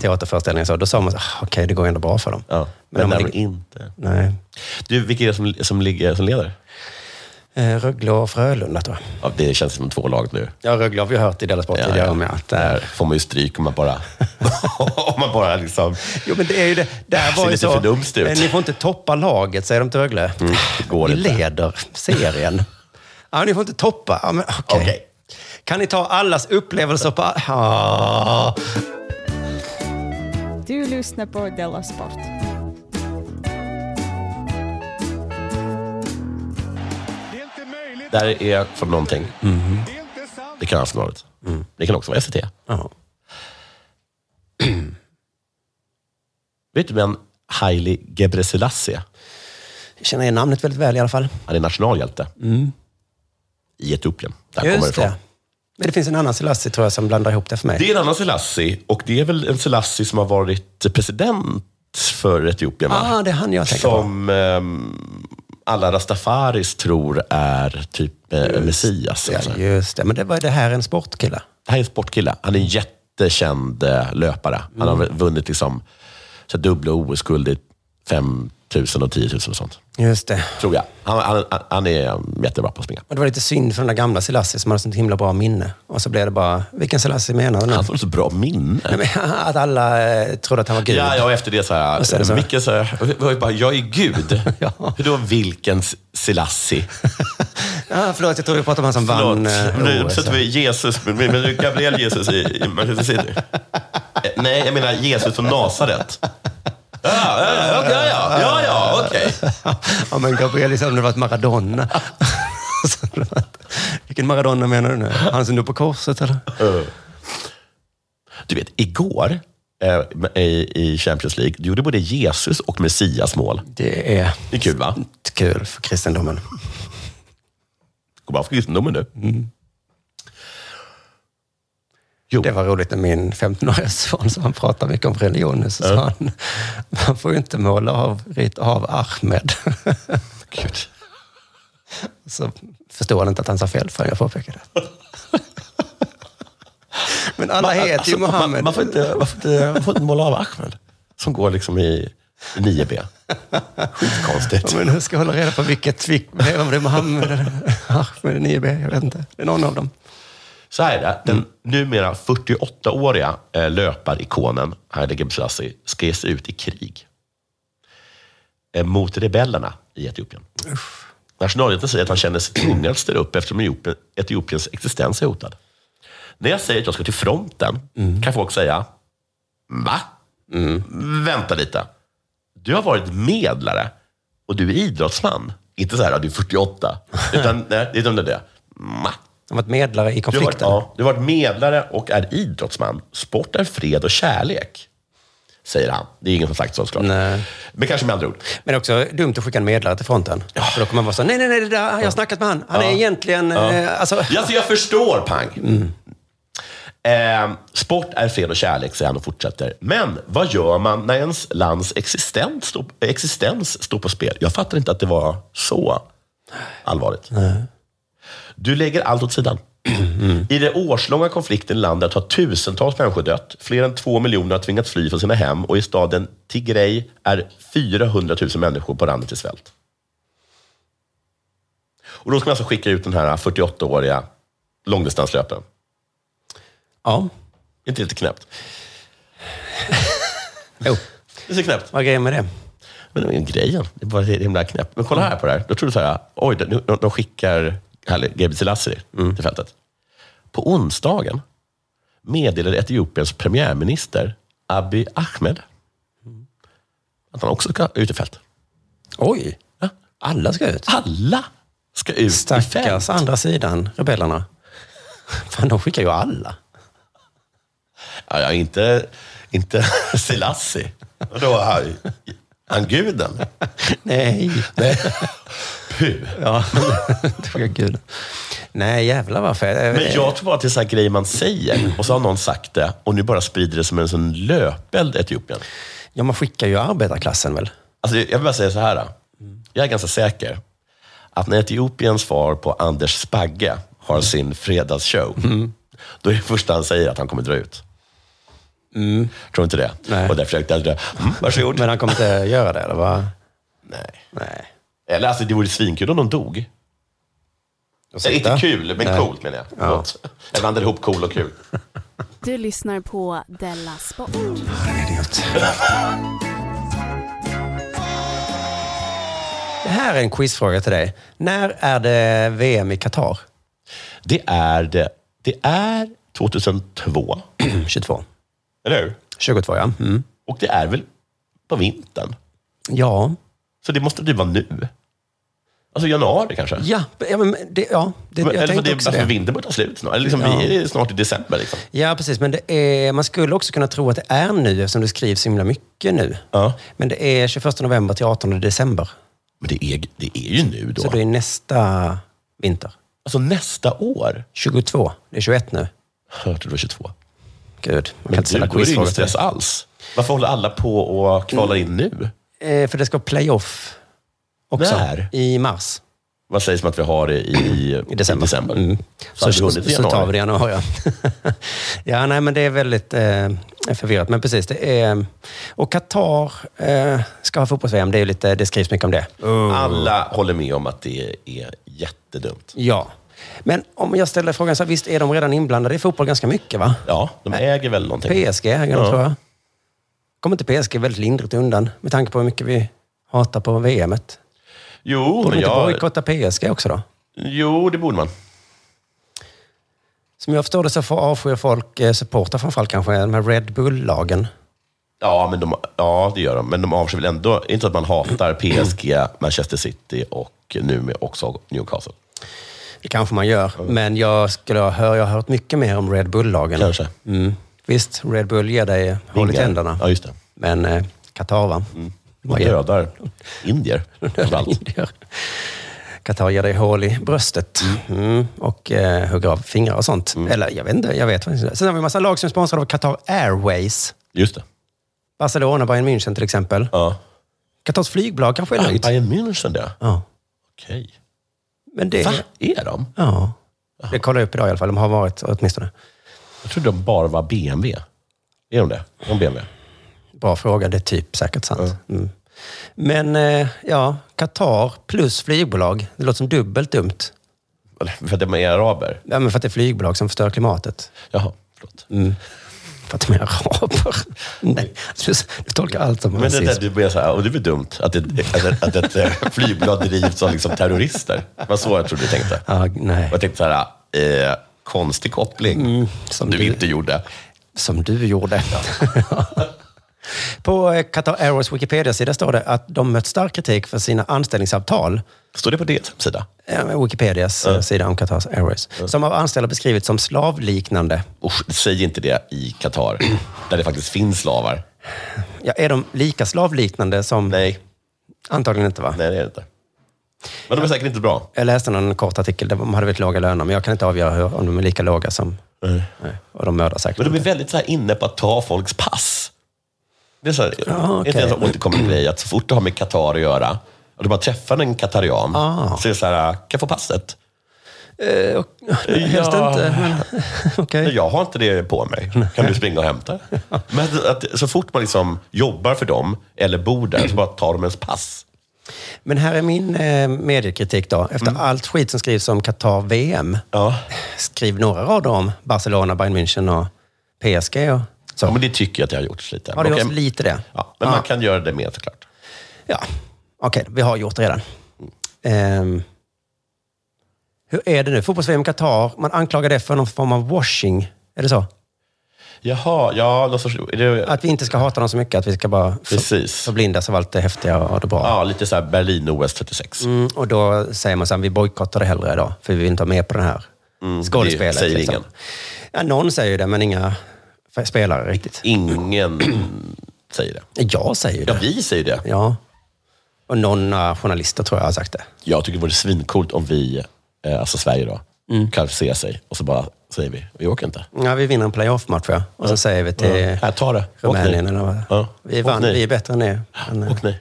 S2: teaterföreställningar. och Så, då sa man, så, ah, okej, det går ändå bra för dem.
S3: Mm. Ja.
S2: Men om
S3: Men,
S2: man
S3: men
S2: ligger-
S3: inte.
S2: Nej.
S3: Du, vilka är det som, som, ligger, som leder?
S2: Eh, Rögle och Frölunda tror jag.
S3: Ja, det känns som två lag nu.
S2: Ja, Rögle har vi hört i Della Sport
S3: Ja,
S2: tidigare
S3: ja.
S2: om. Ja, att,
S3: Där
S2: eh,
S3: får man ju stryk om man bara... om man bara liksom...
S2: Jo, men det är ju det. Där
S3: Ser
S2: var ju
S3: lite
S2: så.
S3: för dumst ut. Mm,
S2: "Eh, Ni får inte toppa laget, säger de till Rögle.
S3: det går
S2: vi
S3: inte."
S2: leder serien. ja, ni får inte toppa. Ja, men, okej.
S3: Okej.
S2: Kan ni ta allas upplevelser på... Ah. Ja.
S7: Du lyssnar på Della Sport.
S3: Det här är från någonting.
S2: Mm-hmm.
S3: Det kan Aftonbladet. Mm. Det kan också vara E SVT.
S2: Ja.
S3: Vet du vem Haile Gebrselassie
S2: Jag känner igen namnet väldigt väl i alla fall.
S3: Han är nationalhjälte. I Etiopien. Där kommer det
S2: Mm. Just
S3: ifrån.
S2: det. Men det finns en annan Selassie tror jag som blandar ihop det för mig.
S3: Det är en annan Selassie. Och det är väl en Selassie som har varit president för Etiopien, va?
S2: ah, det är han jag tänker på.
S3: Som ehm, alla rastafaris tror är typ eh, Messias.
S2: Ja,
S3: Alltså.
S2: just det. Men det var det här en sportkille.
S3: Det här är en sportkille. Han är en jättekänd eh, löpare. Han har vunnit liksom, så här dubbla OS-guld i 5 000 och 10 000 och sånt.
S2: Just det.
S3: Tror jag. Han, han, han- han är um, jättebra på att springa.
S2: Och det var lite synd för den där gamla Selassie som hade sånt himla bra minne. Och så blev det bara, vilken Selassie menar du nu?
S3: Han får så bra minne.
S2: Nej, men Att alla eh, trodde att han var gud.
S3: Ja, ja, och efter det så här,
S2: Och sen så-
S3: Micke sa, jag var ju bara, jag är gud.
S2: Ja.
S3: Hur då vilken S- Selassie?
S2: Ah, förlåt, jag tror vi pratade om han som
S3: Förlåt,
S2: vann eh,
S3: nu
S2: OS.
S3: sätter vi Jesus, men men nu är Gabriel Jesus i i Manchester City. Eh, Nej, jag menar Jesus från Nasaret. Ja, ja, ja, ja, ja, ja, okej.
S2: ja, men Gabriel sa om det varit Maradona. Så det var- Vilken Maradona menar du nu? Han som dog på korset eller?
S3: Du vet, igår eh, i, i Champions League, du gjorde både Jesus och Messias mål.
S2: Det är
S3: Det är kul va?
S2: inte kul för kristendomen.
S3: Går bra för kristendomen nu. Jo,
S2: Det var roligt när min 15-åriga son, som han pratar mycket om religion nu, så sa han, man får ju inte måla av, rita av Ahmed.
S3: gud.
S2: Så förstår han inte att han sa fel förrän jag påpekade det. Men alla heter ju Mohammed.
S3: alltså, Man, man, får inte, man, får inte, man får inte måla av Ahmed, som går liksom i 9B. Skitkonstigt.
S2: Ja, men hur ska jag hålla reda på vilket vi... Om det är Mohammed eller Ahmed 9B? Jag vet inte. Det är någon av dem.
S3: Så här är det. Den numera 48-åriga eh, löparikonen Haile Gebrselassie ska ge sig ut i krig eh, mot rebellerna i Etiopien. Nationalhjälten säger att han känner sig tvungen att ställa upp eftersom Etiopien, Etiopiens existens är hotad. När jag säger att jag ska till fronten kan folk säga, va? Vänta lite. Du har varit medlare och du är idrottsman. Inte så här, "Ja, du är 48. Utan, nej, utan det är det. Ma.
S2: De har varit medlare i
S3: Du har, varit,
S2: konflikten.
S3: ja, du har varit medlare och är idrottsman. Sport är fred och kärlek, säger han. Det är ingen som sagt så såklart.
S2: Nej.
S3: Men kanske med andra ord.
S2: Men också dumt att skicka en medlare till fronten. För då kommer man vara så, nej, nej, nej, det där, jag har snackat med han. Han är egentligen... Eh, alltså,
S3: Ja, Alltså, jag förstår, pang. Eh, sport är fred och kärlek, säger han och fortsätter. Men vad gör man när ens lands existens står, existens står på spel? Jag fattar inte att det var så allvarligt. Du lägger allt åt sidan. I den årslånga konflikten i landet har tusentals människor dött. Fler än två miljoner har tvingats fly från sina hem och i staden Tigray är 400 000 människor på randen till svält. Och då ska man alltså skicka ut den här 48-åriga långdistanslöparen.
S2: Ja.
S3: inte lite knäppt?
S2: Jo.
S3: Det är så knäppt.
S2: Vad är grejen med det?
S3: Men det är ju grejen. Det är bara himla knäppt. Men kolla här på det här. Då tror du så här, oj, de, de- de skickar Gabi Selassie
S2: Mm.
S3: till fältet. På onsdagen meddelade Etiopiens premiärminister Abiy Ahmed att han också ska ut i fält.
S2: Oj!
S3: Ja.
S2: Alla ska
S3: Ah,
S2: ut.
S3: Alla ska ut i fält.
S2: Stackars andra sidan, rebellerna. Fan, de skickar ju alla.
S3: Ja, ja, inte, inte Selassie. Då är han, han guden.
S2: Nej.
S3: Nej. Puh.
S2: Ja. Tackar gud. Nej, jävlar varför.
S3: Men jag tror bara att det är så här grejer man säger och så har någon sagt det och nu bara sprider det som en sån löpeld i Etiopien.
S2: Ja, man skickar ju arbetarklassen väl?
S3: Alltså, jag vill bara säga så här. då. Jag är ganska säker att när Etiopiens far på Anders Spagge har sin fredagsshow, då är det första han säger att han kommer dra ut. Tror inte det?
S2: Nej.
S3: Och där försökte jag dra. Mm, varsågod.
S2: Men han kommer inte göra det, eller vad?
S3: Nej.
S2: Nej.
S3: Eller alltså, det vore svinkul om de dog. Det är inte kul, men coolt menar jag. Förlåt. Jag blandade ihop cool och kul.
S8: Du lyssnar på Della Sport.
S2: Idiot. Det här är en quizfråga till dig. När är det VM i Qatar?
S3: Det är det. Det är 2002,
S2: 22.
S3: eller hur?
S2: 22, ja. Mm.
S3: Och det är väl på vintern?
S2: Ja.
S3: Så det måste det vara nu. Alltså januari kanske?
S2: Ja, ja, men det, ja det,
S3: Men-
S2: jag
S3: eller för
S2: tänkte
S3: det,
S2: också
S3: alltså,
S2: det.
S3: vintern börjar ta slut snart. Eller liksom, Vi är snart i december. Liksom.
S2: Ja, precis. Men det är, man skulle också kunna tro att det är nu eftersom det skrivs så himla mycket nu.
S3: Ja.
S2: Men det är 21 november till 18 december.
S3: Men det är, det är ju nu då.
S2: Så det är nästa vinter.
S3: Alltså nästa år.
S2: 22. Det är 21 nu.
S3: Hörde du då 22?
S2: Gud, man kan
S3: Men
S2: inte
S3: du,
S2: ställa
S3: då är det ingen
S2: quizfrågor till
S3: stress alls. Varför håller alla på och kvalar in nu?
S2: dig. Eh, För det ska playoff också.
S3: När?
S2: I mars.
S3: Vad sägs om att vi har det i,
S2: I december. Mm. Så,
S3: Så, så,
S2: så,
S3: hunnit i januari.
S2: tar vi det i januari. ja. ja, nej, men det är väldigt eh, förvirrat. Men precis, det är... Och Qatar eh, ska ha fotbolls-VM. Det, är ju lite- det skrivs mycket om det.
S3: Alla håller med om att det är jättedumt.
S2: Ja. Men om jag ställer frågan så här, visst är de redan inblandade i fotboll ganska mycket, va?
S3: Ja, de äger väl någonting.
S2: PSG äger de,
S3: Ja.
S2: tror jag. Kommer inte PSG väldigt lindrigt undan med tanke på hur mycket vi hatar på VM? -et.
S3: Jo,
S2: Borde
S3: men
S2: inte
S3: jag,
S2: bojkotta PSG också då?
S3: jo, det borde man.
S2: Som jag förstår det så får avskyr folk eh, supportrar framförallt kanske de här Red Bull-lagen.
S3: Ja, men de, ja, det gör de. Men de avskyr väl ändå, inte att man hatar PSG, Manchester City och nu med också Newcastle.
S2: Det kanske man gör, men jag, skulle ha hör, jag har hört mycket mer om Red Bull-lagen.
S3: Kanske.
S2: Mm. Visst, Red Bull ger dig hål i
S3: Vingar.
S2: tänderna.
S3: Ja, just det.
S2: Men eh, Qatar, va?
S3: Man
S2: gör-
S3: dödar indier. framför allt.
S2: indier. Qatar ger dig hål i bröstet mm. och eh, hugger av fingrar och sånt.
S3: Mm.
S2: Eller jag vet inte, jag vet faktiskt inte. Sen har vi en massa lag som är sponsrade av Qatar Airways.
S3: Just det.
S2: Barcelona, Bayern München till exempel.
S3: Ja.
S2: Qatars flygbolag kanske är
S3: Ah,
S2: lugnt.
S3: Bayern München det.
S2: Ja.
S3: Okej.
S2: Men det,
S3: Va? Är de?
S2: ja. det kollar jag upp idag i alla fall. De har varit åtminstone.
S3: Jag trodde de bara var BMW. Är de det? De BMW?
S2: Bra fråga, det är typ säkert sant. Mm. Men eh, ja, Qatar plus flygbolag. Det låter som dubbelt dumt.
S3: Eller, För att de är araber?
S2: Ja, men för att det är flygbolag som förstör klimatet.
S3: Jaha, förlåt.
S2: För att de är araber. Nej, du, du tolkar allt som
S3: Men det
S2: rasism.
S3: där, du blir så här, och det är väl dumt att, det, att, att ett eh, flygblad drivs av liksom terrorister. Det var så jag trodde du tänkte.
S2: Ja, nej.
S3: Och jag tänkte så här, eh, konstig koppling som
S2: som
S3: du
S2: du-
S3: inte gjorde.
S2: Som du gjorde. på eh, Qatar Airways Wikipedia-sida står det att de mött stark kritik för sina anställningsavtal.
S3: Står det på din sida?
S2: Eh, Wikipedias eh, sida om Qatar Airways. Som av anställda beskrivits som slavliknande.
S3: Usch, säg inte det i Qatar, där det faktiskt finns slavar.
S2: Ja, är de lika slavliknande som...
S3: Nej,
S2: Antagligen inte va?
S3: nej det är det inte. Men de är säkert inte bra.
S2: Jag läste någon kort artikel där de hade väldigt låga löner, men jag kan inte avgöra hur, om de är lika låga som... Nej. Och de mördar säkert.
S3: Men de är
S2: inte.
S3: väldigt så här inne på att ta folks pass. Det är så här,
S2: Ah, okej.
S3: inte en sån återkommande grej att så fort du har med Qatar att göra, och du bara träffar en qatarian,
S2: Ah.
S3: så är det så här, kan jag få passet?
S2: Eh, och, helst
S3: Ja.
S2: inte, men okej.
S3: Nej, Jag har inte det på mig. Kan du springa och hämta? Men att, att, så fort man liksom jobbar för dem, eller bor där, så bara tar de ens pass.
S2: Men här är min eh, mediekritik då. Efter
S3: Mm.
S2: allt skit som skrivs om Qatar-VM, skriv några rader om Barcelona, Bayern München och PSG. Och så.
S3: Ja, men det tycker jag att jag har gjort lite.
S2: Har det
S3: Man
S2: gjorts
S3: kan-
S2: lite det? Ah,
S3: Ja, men man kan göra det mer såklart.
S2: Ja, okej. vi har gjort det redan. Ehm, hur är det nu? Fotbolls-VM i Qatar, man anklagar det för någon form av washing. Är det så?
S3: Jaha, ja, någon sorts... Är det,
S2: Att vi inte ska hata dem så mycket, att vi ska bara för,
S3: Precis.
S2: förblindas av allt det häftiga och det bra.
S3: ja, lite så här Berlin-OS 36.
S2: Mm, och då säger man så här, vi bojkottar det hellre idag, för vi vill inte ha med på den här
S3: Mm,
S2: skådespelet.
S3: det säger
S2: liksom.
S3: ingen.
S2: Ja, någon säger ju det, men inga f- spelare riktigt.
S3: Ingen säger det.
S2: Jag säger ju
S3: Ja,
S2: det.
S3: vi säger det.
S2: Ja. Och någon eh, journalister tror jag har sagt det.
S3: Jag tycker det vore svincoolt om vi, eh, alltså Sverige då, kvalificerar sig och så bara säger vi, vi åker inte.
S2: Ja, vi vinner en playoff-match, ja. Och så säger vi till
S3: Ja. Här, ta det. Åk
S2: Rumänien
S3: ni.
S2: eller vad
S3: Ja.
S2: Vi
S3: Åk
S2: vann,
S3: ni.
S2: vi är bättre än er. Men, eh,
S3: Åk ni.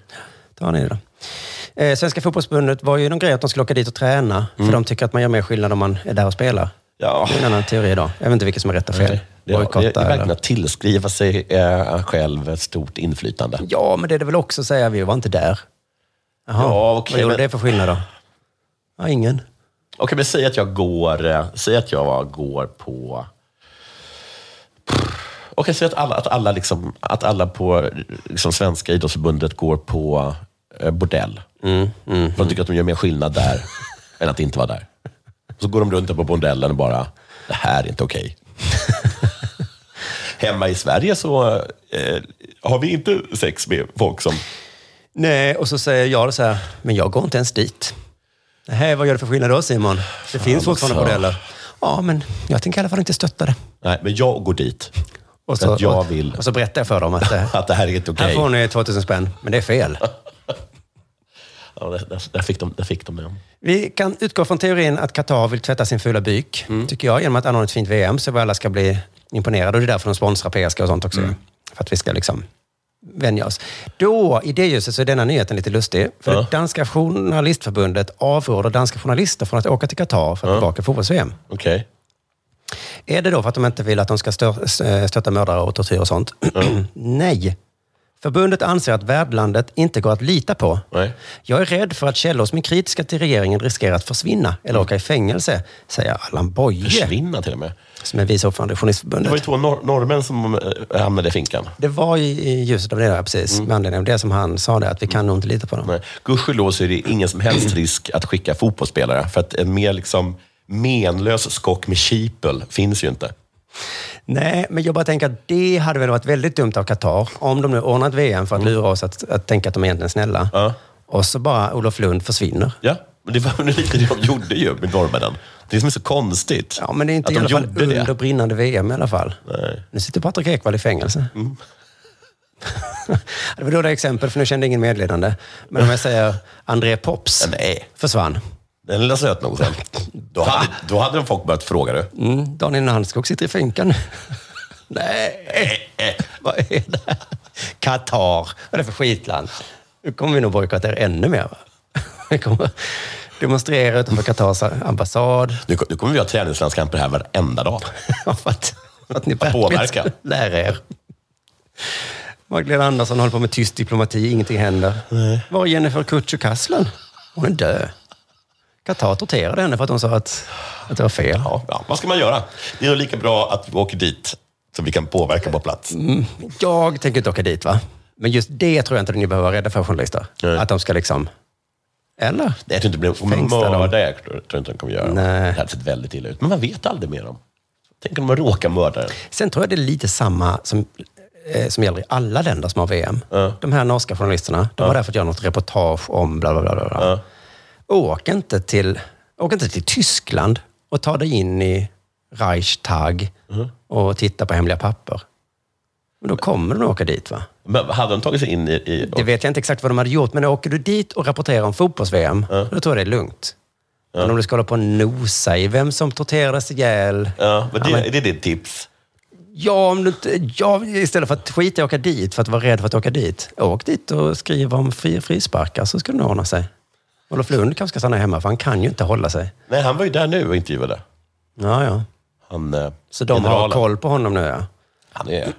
S2: Ta ni det då. Eh, Svenska fotbollsförbundet var ju någon grej att de skulle åka dit och träna,
S3: Mm.
S2: för de tycker att man gör mer skillnad om man är där och spelar.
S3: Ja.
S2: Det är en annan teori idag. Jag vet inte vilket som är rätt och fel.
S3: Det, Ah. det, det, det är
S2: Bojkotta
S3: verkligen
S2: eller...
S3: att tillskriva sig eh, själv ett stort inflytande.
S2: Ja, men det är det väl också att säga, vi var inte där. Jaha,
S3: Ja, okej,
S2: vad gjorde
S3: men-
S2: det för skillnad då? Ja, ingen.
S3: Okej, men säg att jag går, eh, säg att jag går på... Okej, säg att alla, att alla, liksom, att alla på eh, liksom, Svenska idrottsförbundet går på eh, bordell. För de tycker att de gör mer skillnad där än att inte vara där. Så går de runt där på bordellen och bara, det här är inte okej. Hemma i Sverige så eh, har vi inte sex med folk som...
S2: Nej, och så säger jag då så här, men jag går inte ens dit. Nej, vad gör det för skillnad då Simon? Det finns fortfarande
S3: alltså.
S2: bordeller. Ja, men jag tänker i alla fall inte stötta det.
S3: Nej, men jag går dit.
S2: Och
S3: För att jag vill-
S2: och så berättar jag för dem att det,
S3: Att det här är inte okej.
S2: här får ni 2000 spänn, men det är fel.
S3: Ja, där, där, där fick de, där fick de den.
S2: Vi kan utgå från teorin att Qatar vill tvätta sin fula byk, tycker jag, genom att anordna ett fint VM så vi alla ska bli imponerade. Och det är därför de sponsrar PSG och sånt också. För att vi ska liksom vänja oss. Då, i det ljuset, så är denna nyheten lite lustig. För
S3: Ja.
S2: det danska journalistförbundet avråder danska journalister från att åka till Qatar för att bevaka fotbolls-VM.
S3: Okej.
S2: Är det då för att de inte vill att de ska stör, eh, stötta mördare och tortyr och sånt? Nej. Förbundet anser att värdlandet inte går att lita på.
S3: Nej.
S2: Jag är rädd för att källor som är kritiska till regeringen riskerar att försvinna eller åka i fängelse, säger Allan Boye,
S3: Försvinna till och med.
S2: som är vice ordförande i
S3: Det var ju
S2: Journalistförbundet.
S3: två nor- norrmän som eh, hamnade i finkan.
S2: Det var i i ljuset av det, där, precis, med anledning av det som han sa, där, att vi kan nog inte lita på dem.
S3: Mm. Nej. Gudskelov så är det ingen som helst risk att skicka fotbollsspelare, för att en mer liksom menlös skock med kipel finns ju inte.
S2: Nej, men jag bara tänker att det hade väl varit väldigt dumt av Qatar, om de nu ordnat VM för att lura oss att, att tänka att de är egentligen snälla.
S3: Mm. Ja.
S2: Och så bara Olof Lund försvinner.
S3: Ja, men det var väl lite det de gjorde ju med norrmännen. Det är det som är så konstigt.
S2: Ja, men det är inte
S3: att
S2: i alla
S3: de
S2: fall
S3: gjorde
S2: under
S3: det.
S2: brinnande VM i alla fall.
S3: Nej. Mm.
S2: Nu sitter Patrik Ekwall i fängelse. det var dåliga exempel, för nu kände ingen medledande. Men om jag säger André Pops
S3: Nej,
S2: försvann.
S3: den lilla sötnosen. Då hade, då hade de folk börjat fråga det.
S2: Mm, Daniel Nannskog sitter i finkan. Nej,
S3: Eh,
S2: vad är det här? Qatar, vad är det för skitland? Nu kommer vi nog bojkotta er ännu mer. Va? Vi kommer demonstrera utanför Qatars ambassad.
S3: Nu, nu kommer vi ha träningslandskamper här varenda dag.
S2: för att, för att ni
S3: Att påverka.
S2: verkligen lär er. Magdalena Andersson håller på med tyst diplomati, ingenting händer. Var är Jennifer Kutjo-Kasslen? Hon är död. Qatar torterade henne för att hon sa att, att det var fel.
S3: Ja, ja. Vad ska man göra? Det är nog lika bra att vi åker dit, så vi kan påverka på plats.
S2: Jag tänker inte åka dit, va? Men just det tror jag inte ni behöver vara rädda för, journalister.
S3: Nej.
S2: Att de ska liksom... Eller?
S3: Nej, jag tror inte det blir
S2: Fängsla dem.
S3: mörda. Jag tror tror inte de kommer göra.
S2: Nej.
S3: Det hade sett väldigt illa ut. Men man vet aldrig med dem. Tänk om de råkar mörda den.
S2: Sen tror jag det är lite samma som, eh, som gäller i alla länder som har VM.
S3: Ja.
S2: De här norska journalisterna, de var där för att göra något reportage om bla bla bla. bla, bla.
S3: Ja.
S2: Åk, inte till, åk inte till Tyskland och ta dig in i Reichstag
S3: Mhm.
S2: och titta på hemliga papper. Men då kommer de att åka dit va?
S3: Men hade de tagit sig in i... i
S2: Det vet jag inte exakt vad de hade gjort, men åker du dit och rapporterar om fotbolls-VM, då tror jag det är lugnt. Men om du ska hålla på och nosa i vem som torterades ihjäl,
S3: ja, men det,
S2: Ja, men-
S3: Är det ditt tips?
S2: Ja, om du inte, ja, istället för att skita i att åka dit, för att vara rädd för att åka dit. Åk dit och skriv om fri, frisparkar så ska det nog ordna sig. Olof Lund kanske ska stanna hemma, för han kan ju inte hålla sig.
S3: Nej, han var ju där nu och intervjuade.
S2: Ja, ja.
S3: Han, eh,
S2: Så de har
S3: generalen.
S2: koll på honom nu, ja.
S3: Han är...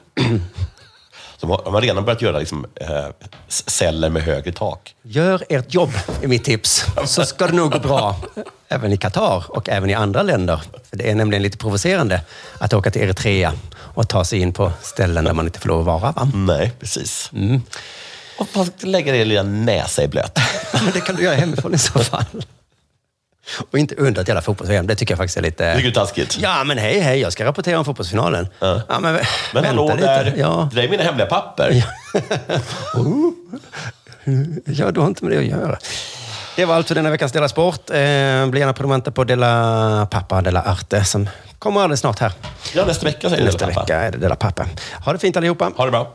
S3: De har, de har redan börjat göra liksom, eh, s- celler med högre tak.
S2: Gör ert jobb, är mitt tips. Så ska det nog gå bra. Även i Qatar och även i andra länder. För det är nämligen lite provocerande att åka till Eritrea och ta sig in på ställen där man inte får lov att vara. Va?
S3: Nej, precis.
S2: Mm.
S3: Och bara lägga er lilla näsa i blöt.
S2: det kan du göra hemifrån i så fall. Och inte undra ett jävla fotbolls Det tycker jag faktiskt är lite...
S3: Tycker du det är taskigt?
S2: Ja, men hej, hej, jag ska rapportera om fotbollsfinalen. Ja. men vä-
S3: Men
S2: vänta
S3: hallå
S2: lite.
S3: där,
S2: Ja.
S3: det där är mina hemliga papper.
S2: ja, du har inte med det att göra. Det var allt för denna veckans Della Sport. Eh, bli gärna prenumeranter på Della Pappa, Della Arte, som kommer alldeles snart här.
S3: Ja, nästa vecka säger du
S2: Nästa
S3: Della Pappa.
S2: vecka är det Della Pappa. Ha det fint allihopa.
S3: Ha det bra.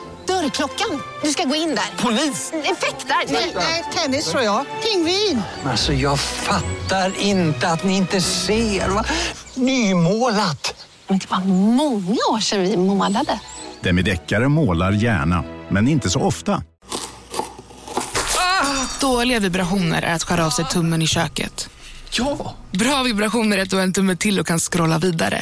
S5: Dörrklockan. Du ska gå in där. Polis? Effektar? Nej, tennis tror jag. Pingvin.
S9: Alltså jag fattar inte att ni inte ser. Va? Nymålat.
S5: Men det var många år sedan vi målade.
S10: Demideckare målar gärna, men inte så ofta.
S11: Dåliga vibrationer är att skära av sig tummen i köket. Ja! Bra vibrationer är att du har en tumme till och kan scrolla vidare.